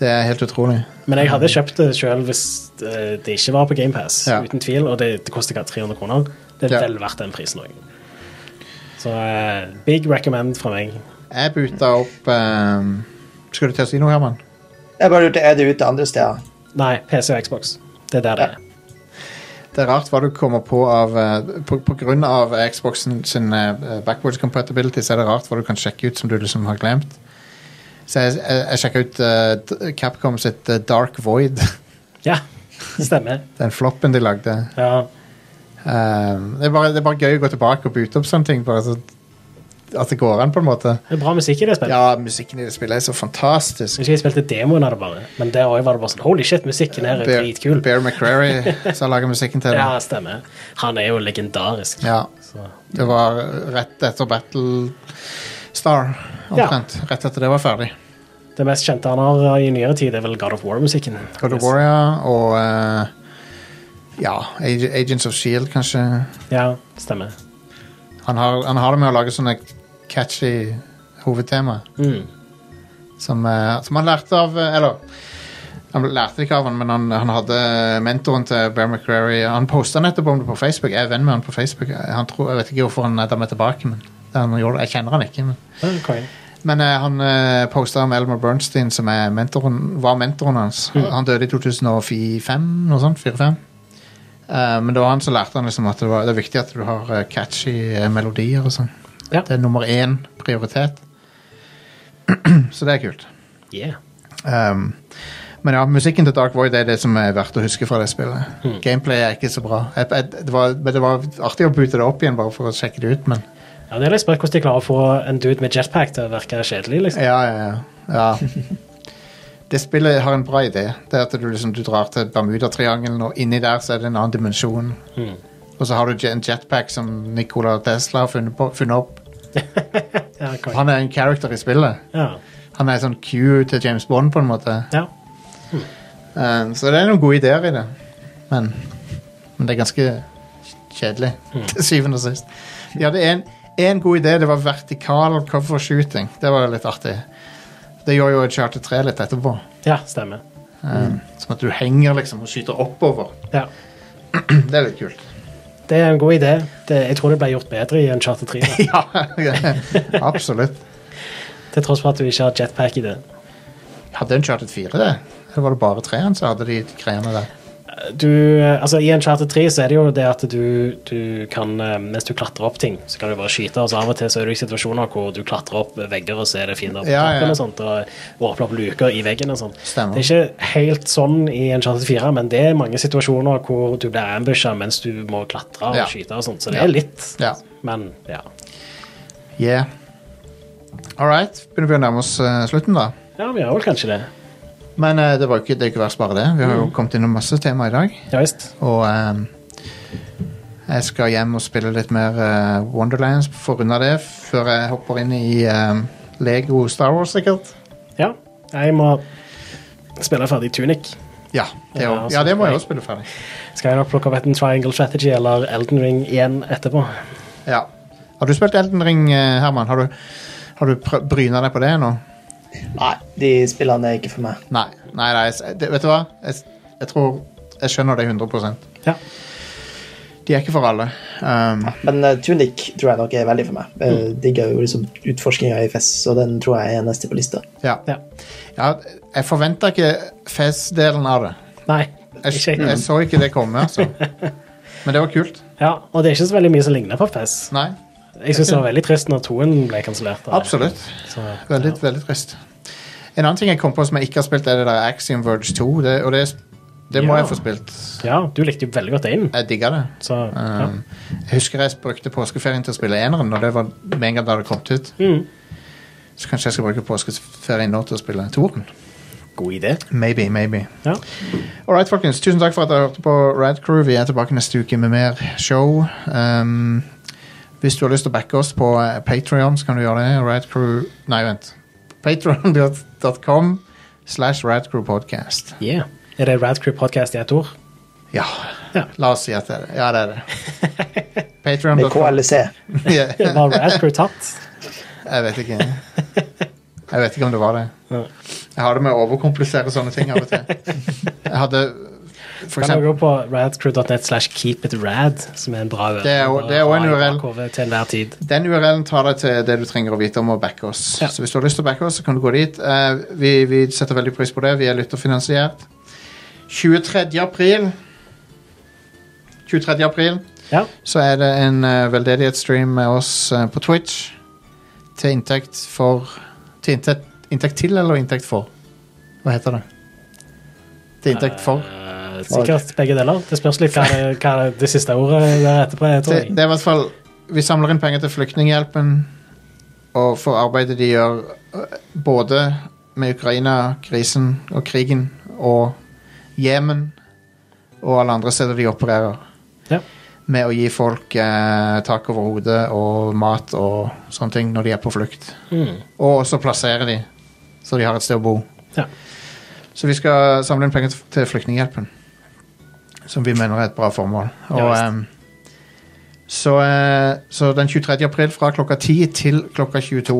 Speaker 1: Det er helt utrolig.
Speaker 2: Men jeg hadde kjøpt det sjøl hvis eh, det ikke var på GamePass,
Speaker 1: Ja.
Speaker 2: uten tvil. Og det, det koster ikke 300 kroner. Det er
Speaker 1: Ja.
Speaker 2: vel verdt den prisen òg. Så eh, big recommend fra meg.
Speaker 1: Jeg buta opp ehm, Skal du til å si noe, Herman?
Speaker 3: Jeg bare lurte, Er det ute andre steder?
Speaker 2: Nei, PC og Xbox. Det er der det er.
Speaker 1: Det er rart hva du kommer på av eh, på, på grunn av Xboxen sin eh, backwards compatibility, så er det rart hva du kan sjekke ut som du liksom har glemt. Så jeg, jeg, jeg sjekka ut eh, D- Capcom sitt eh, Dark Void,
Speaker 2: Ja, stemmer.
Speaker 1: den floppen de lagde.
Speaker 2: Ja.
Speaker 1: Ehm, det, er bare, det er bare gøy å gå tilbake og bute opp sånne ting. Bare så, at det går an, på en måte.
Speaker 2: Det er bra musikk i det spillet.
Speaker 1: Ja, musikken i det spillet er så fantastisk.
Speaker 2: Jeg husker jeg spilte demoen av det bare, men der også var det bare sånn Holy shit, musikken her er
Speaker 1: Bear,
Speaker 2: dritkul.
Speaker 1: Bear McCrary som lager musikken til det.
Speaker 2: Ja, stemmer. Han er jo legendarisk.
Speaker 1: Ja.
Speaker 2: Så.
Speaker 1: Det var rett etter Battle Star, omtrent. Rett etter det var ferdig.
Speaker 2: Det mest kjente han har i nyere tid, er vel God of War-musikken.
Speaker 1: God of Warrior og eh, ja, Ag- Agents of Shield, E kanskje.
Speaker 2: Ja, stemmer.
Speaker 1: Han har, han har det med å lage sånne catchy hovedtema. Som, eh, som han lærte av eh, Eller han lærte ikke av han, men han, han hadde mentoren til Bear McCrary. Han posta nettopp om det på Facebook. Jeg er venn med han på Facebook. Han tror, jeg vet ikke hvorfor han er der med tilbake, men han gjorde, det. jeg kjenner han ikke. Men,
Speaker 2: Ja, konge.
Speaker 1: men eh, han uh, posta om Elmer Bernstein, som er mentoren, var mentoren hans. Han døde i 2005, noe sånt. 4-5. Eh, men det var han som lærte han liksom at det, var, det er viktig at du har eh, catchy eh, melodier og sånn.
Speaker 2: Ja.
Speaker 1: Det er nummer én prioritet. Så det er kult.
Speaker 2: Yeah.
Speaker 1: Um, men ja, musikken til Dark Void er det som er verdt å huske fra det spillet. Gameplay er ikke så bra. Jeg, jeg, det, var, men det var artig å boote det opp igjen bare for å sjekke det ut, men
Speaker 2: Ja, det er litt spørsmål hvordan de klarer å få en dude med jetpack til å virke kjedelig. liksom.
Speaker 1: ja, ja, ja. ja. Det spillet har en bra idé. Det er at du, liksom, du drar til Bermudatriangelen, og inni der så er det en annen dimensjon. Og så har du jet- en jetpack som Nikola Tesla har funnet, på, funnet opp.
Speaker 2: Ja, konge.
Speaker 1: Han er en character i spillet.
Speaker 2: ja.
Speaker 1: Han er sånn Q til James Bond, på en måte.
Speaker 2: ja.
Speaker 1: Um, så det er noen gode ideer i det. Men, men det er ganske kjedelig, til syvende og sist. De hadde en, en god idé. Det var vertikal cover shooting. Det var litt artig. Det gjør jo Charter 3 litt etterpå.
Speaker 2: ja stemmer.
Speaker 1: Um, Som at du henger liksom og skyter oppover.
Speaker 2: Ja.
Speaker 1: Mm, Det er litt kult.
Speaker 2: Det er en god idé. Det, jeg tror det ble gjort bedre i en Charter 3. da.
Speaker 1: Ja, absolutt.
Speaker 2: Til tross for at du ikke har jetpack i det.
Speaker 1: Hadde en Charter 4 det? Eller var det bare 3-en som hadde de greiene der?
Speaker 2: Du, eh, altså I en Charter 3 så er det jo det at du, du kan eh, Mens du klatrer opp ting, så kan du bare skyte. Og så Av og til så er du i situasjoner hvor du klatrer opp vegger, og så er det fiender på
Speaker 1: Ja, ja.
Speaker 2: toppen og sånt, og, og åpner opp luker i veggen og sånt.
Speaker 1: Stemmer.
Speaker 2: Det er ikke helt sånn i en Charter 4, men det er mange situasjoner hvor du blir ambusha mens du må klatre og
Speaker 1: Ja.
Speaker 2: skyte og sånt, så det
Speaker 1: Ja.
Speaker 2: er litt
Speaker 1: Ja.
Speaker 2: Men ja.
Speaker 1: Yeah. All right. Begynner vi å nærme oss eh, slutten, da?
Speaker 2: Ja, vi gjør vel kanskje det.
Speaker 1: Men eh, det, var jo ikke, det er jo ikke verst bare det. Vi har jo kommet innom masse tema i dag.
Speaker 2: Ja visst.
Speaker 1: Og eh, jeg skal hjem og spille litt mer eh, Wonderlands for å runde av det, før jeg hopper inn i eh, Lego Star Wars, sikkert.
Speaker 2: Ja. Jeg må spille ferdig Tunic.
Speaker 1: Ja, det,
Speaker 2: Ja,
Speaker 1: jo-
Speaker 2: altså,
Speaker 1: ja, det må jeg også spille ferdig.
Speaker 2: Skal jeg nok plukke opp enten Triangle Strategy eller Elden Ring igjen etterpå.
Speaker 1: Ja. Har du spilt Elden Ring, eh, Herman? Har du, har du prø- bryna deg på det nå?
Speaker 3: Nei, de spillene er ikke for meg.
Speaker 1: Nei. nei, nei jeg, det, vet du hva? Jeg, jeg tror jeg skjønner det 100
Speaker 2: Ja.
Speaker 1: De er ikke for alle. Um,
Speaker 3: Men eh, Tunic tror jeg nok er veldig for meg. Jeg digger jo liksom utforskinga i FES, og den tror jeg er neste på lista.
Speaker 1: ja.
Speaker 2: Ja.
Speaker 1: ja. Jeg forventa ikke Fez-delen av det.
Speaker 2: Nei. Ikke
Speaker 1: Jeg,
Speaker 2: jeg.
Speaker 1: jeg så ikke det komme, altså. Men det var kult.
Speaker 2: Ja, og det er ikke så veldig mye som ligner på FES.
Speaker 1: Nei,
Speaker 2: Jeg syns det var veldig trist når toen ble kansellert. da.
Speaker 1: absolutt.
Speaker 2: Så,
Speaker 1: Veldig, veldig trist. En annen ting jeg kom på som jeg ikke har spilt, er det der Axiom Verge 2. Det, og det, det må
Speaker 2: Ja.
Speaker 1: jeg få spilt.
Speaker 2: Ja, du likte jo veldig godt det inn.
Speaker 1: Jeg digga det.
Speaker 2: Så, ja.
Speaker 1: Um, Jeg husker jeg brukte påskeferien til å spille eneren, og det var med en gang da det kom ut.
Speaker 2: Mhm.
Speaker 1: Så kanskje jeg skal bruke påskeferien nå til å spille toeren.
Speaker 2: God idé.
Speaker 1: Maybe, maybe.
Speaker 2: Ja.
Speaker 1: All right, folkens. Tusen takk for at dere hørte på Rad Crew. Vi er tilbake neste uke med mer show. Um, hvis du har lyst til å backe oss på eh, Patreon, så kan du gjøre det. Rad Crew Nei, vent. Patreon.com slash radcrewpodcast.
Speaker 2: Yeah. Er det Rad Crew Podcast i ett ord?
Speaker 1: Ja.
Speaker 2: Ja.
Speaker 1: La oss si at det er det. Ja, det er det.
Speaker 3: Med
Speaker 1: Patreon.com
Speaker 3: KLC.
Speaker 1: Ja,
Speaker 2: Var Rad Crew tatt?
Speaker 1: Jeg vet ikke. Jeg vet ikke om det var det. Jeg har det med å overkomplisere sånne ting av og til. Jeg hadde for
Speaker 2: Kan du
Speaker 1: eksempel
Speaker 2: gå på radcrew.net slash keepitrad, som er en bra
Speaker 1: Det er jo- det er jo en URL.
Speaker 2: URL. Til enhver tid.
Speaker 1: Den URL-en tar deg til det du trenger å vite om å backe oss.
Speaker 2: Ja.
Speaker 1: Så hvis du har lyst til å backe oss, så kan du gå dit. Eh, vi, vi setter veldig pris på det. Vi er lytterfinansiert. 23. april 23. april
Speaker 2: Ja.
Speaker 1: så er det en eh, veldedighetsstream med oss eh, på Twitch til inntekt for Til inntekt, inntekt til eller inntekt for? Hva heter det? Til inntekt for?
Speaker 2: Eh, sikkert begge deler. Det spørs litt hva det, hva det, det siste ordet der etterpå er. tror
Speaker 1: det,
Speaker 2: jeg.
Speaker 1: det er i hvert fall Vi samler inn penger til Flyktninghjelpen og for arbeidet de gjør øh, både med Ukraina-krisen og krigen og Jemen og alle andre steder de opererer.
Speaker 2: Ja.
Speaker 1: Med å gi folk eh, tak over hodet og mat og sånne ting når de er på flukt.
Speaker 2: Mm.
Speaker 1: Og også plassere de, så de har et sted å bo.
Speaker 2: Ja.
Speaker 1: Så vi skal samle inn penger til Flyktninghjelpen. Som vi mener er et bra formål. Og,
Speaker 2: Ja, visst.
Speaker 1: ehm, så, eh, så den 23. april fra klokka 10 til klokka 22.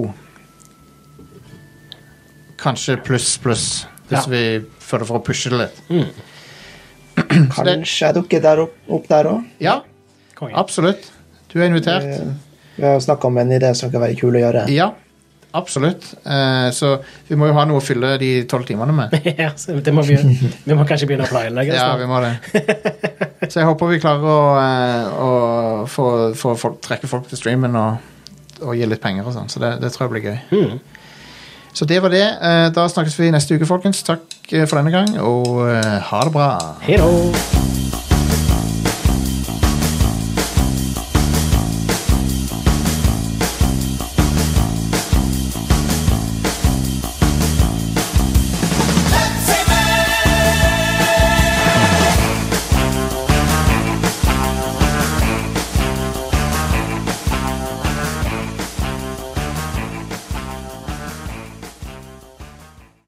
Speaker 1: kanskje pluss, pluss. Hvis
Speaker 2: Ja.
Speaker 1: vi føler for å pushe det litt. Så det-
Speaker 3: Kanskje jeg dukker der opp, opp der òg.
Speaker 1: Ja,
Speaker 2: Konge.
Speaker 1: absolutt. Du er invitert.
Speaker 3: Eh, Vi har jo snakka om en idé som kan være kul å gjøre.
Speaker 1: Ja, absolutt. Eh, så vi må jo ha noe å fylle de tolv timene med.
Speaker 2: ja, så det må vi, gjøre. vi må kanskje begynne å planlegge.
Speaker 1: Ja, vi
Speaker 2: snart.
Speaker 1: må det. Så jeg håper vi klarer å, eh, å få, få folk, trekke folk til streamen og, og gi litt penger og sånn. Så det, det tror jeg blir gøy. Så det var det. Eh, Da snakkes vi neste uke, folkens. Takk eh, for denne gang, og eh, ha det bra.
Speaker 2: Hei da!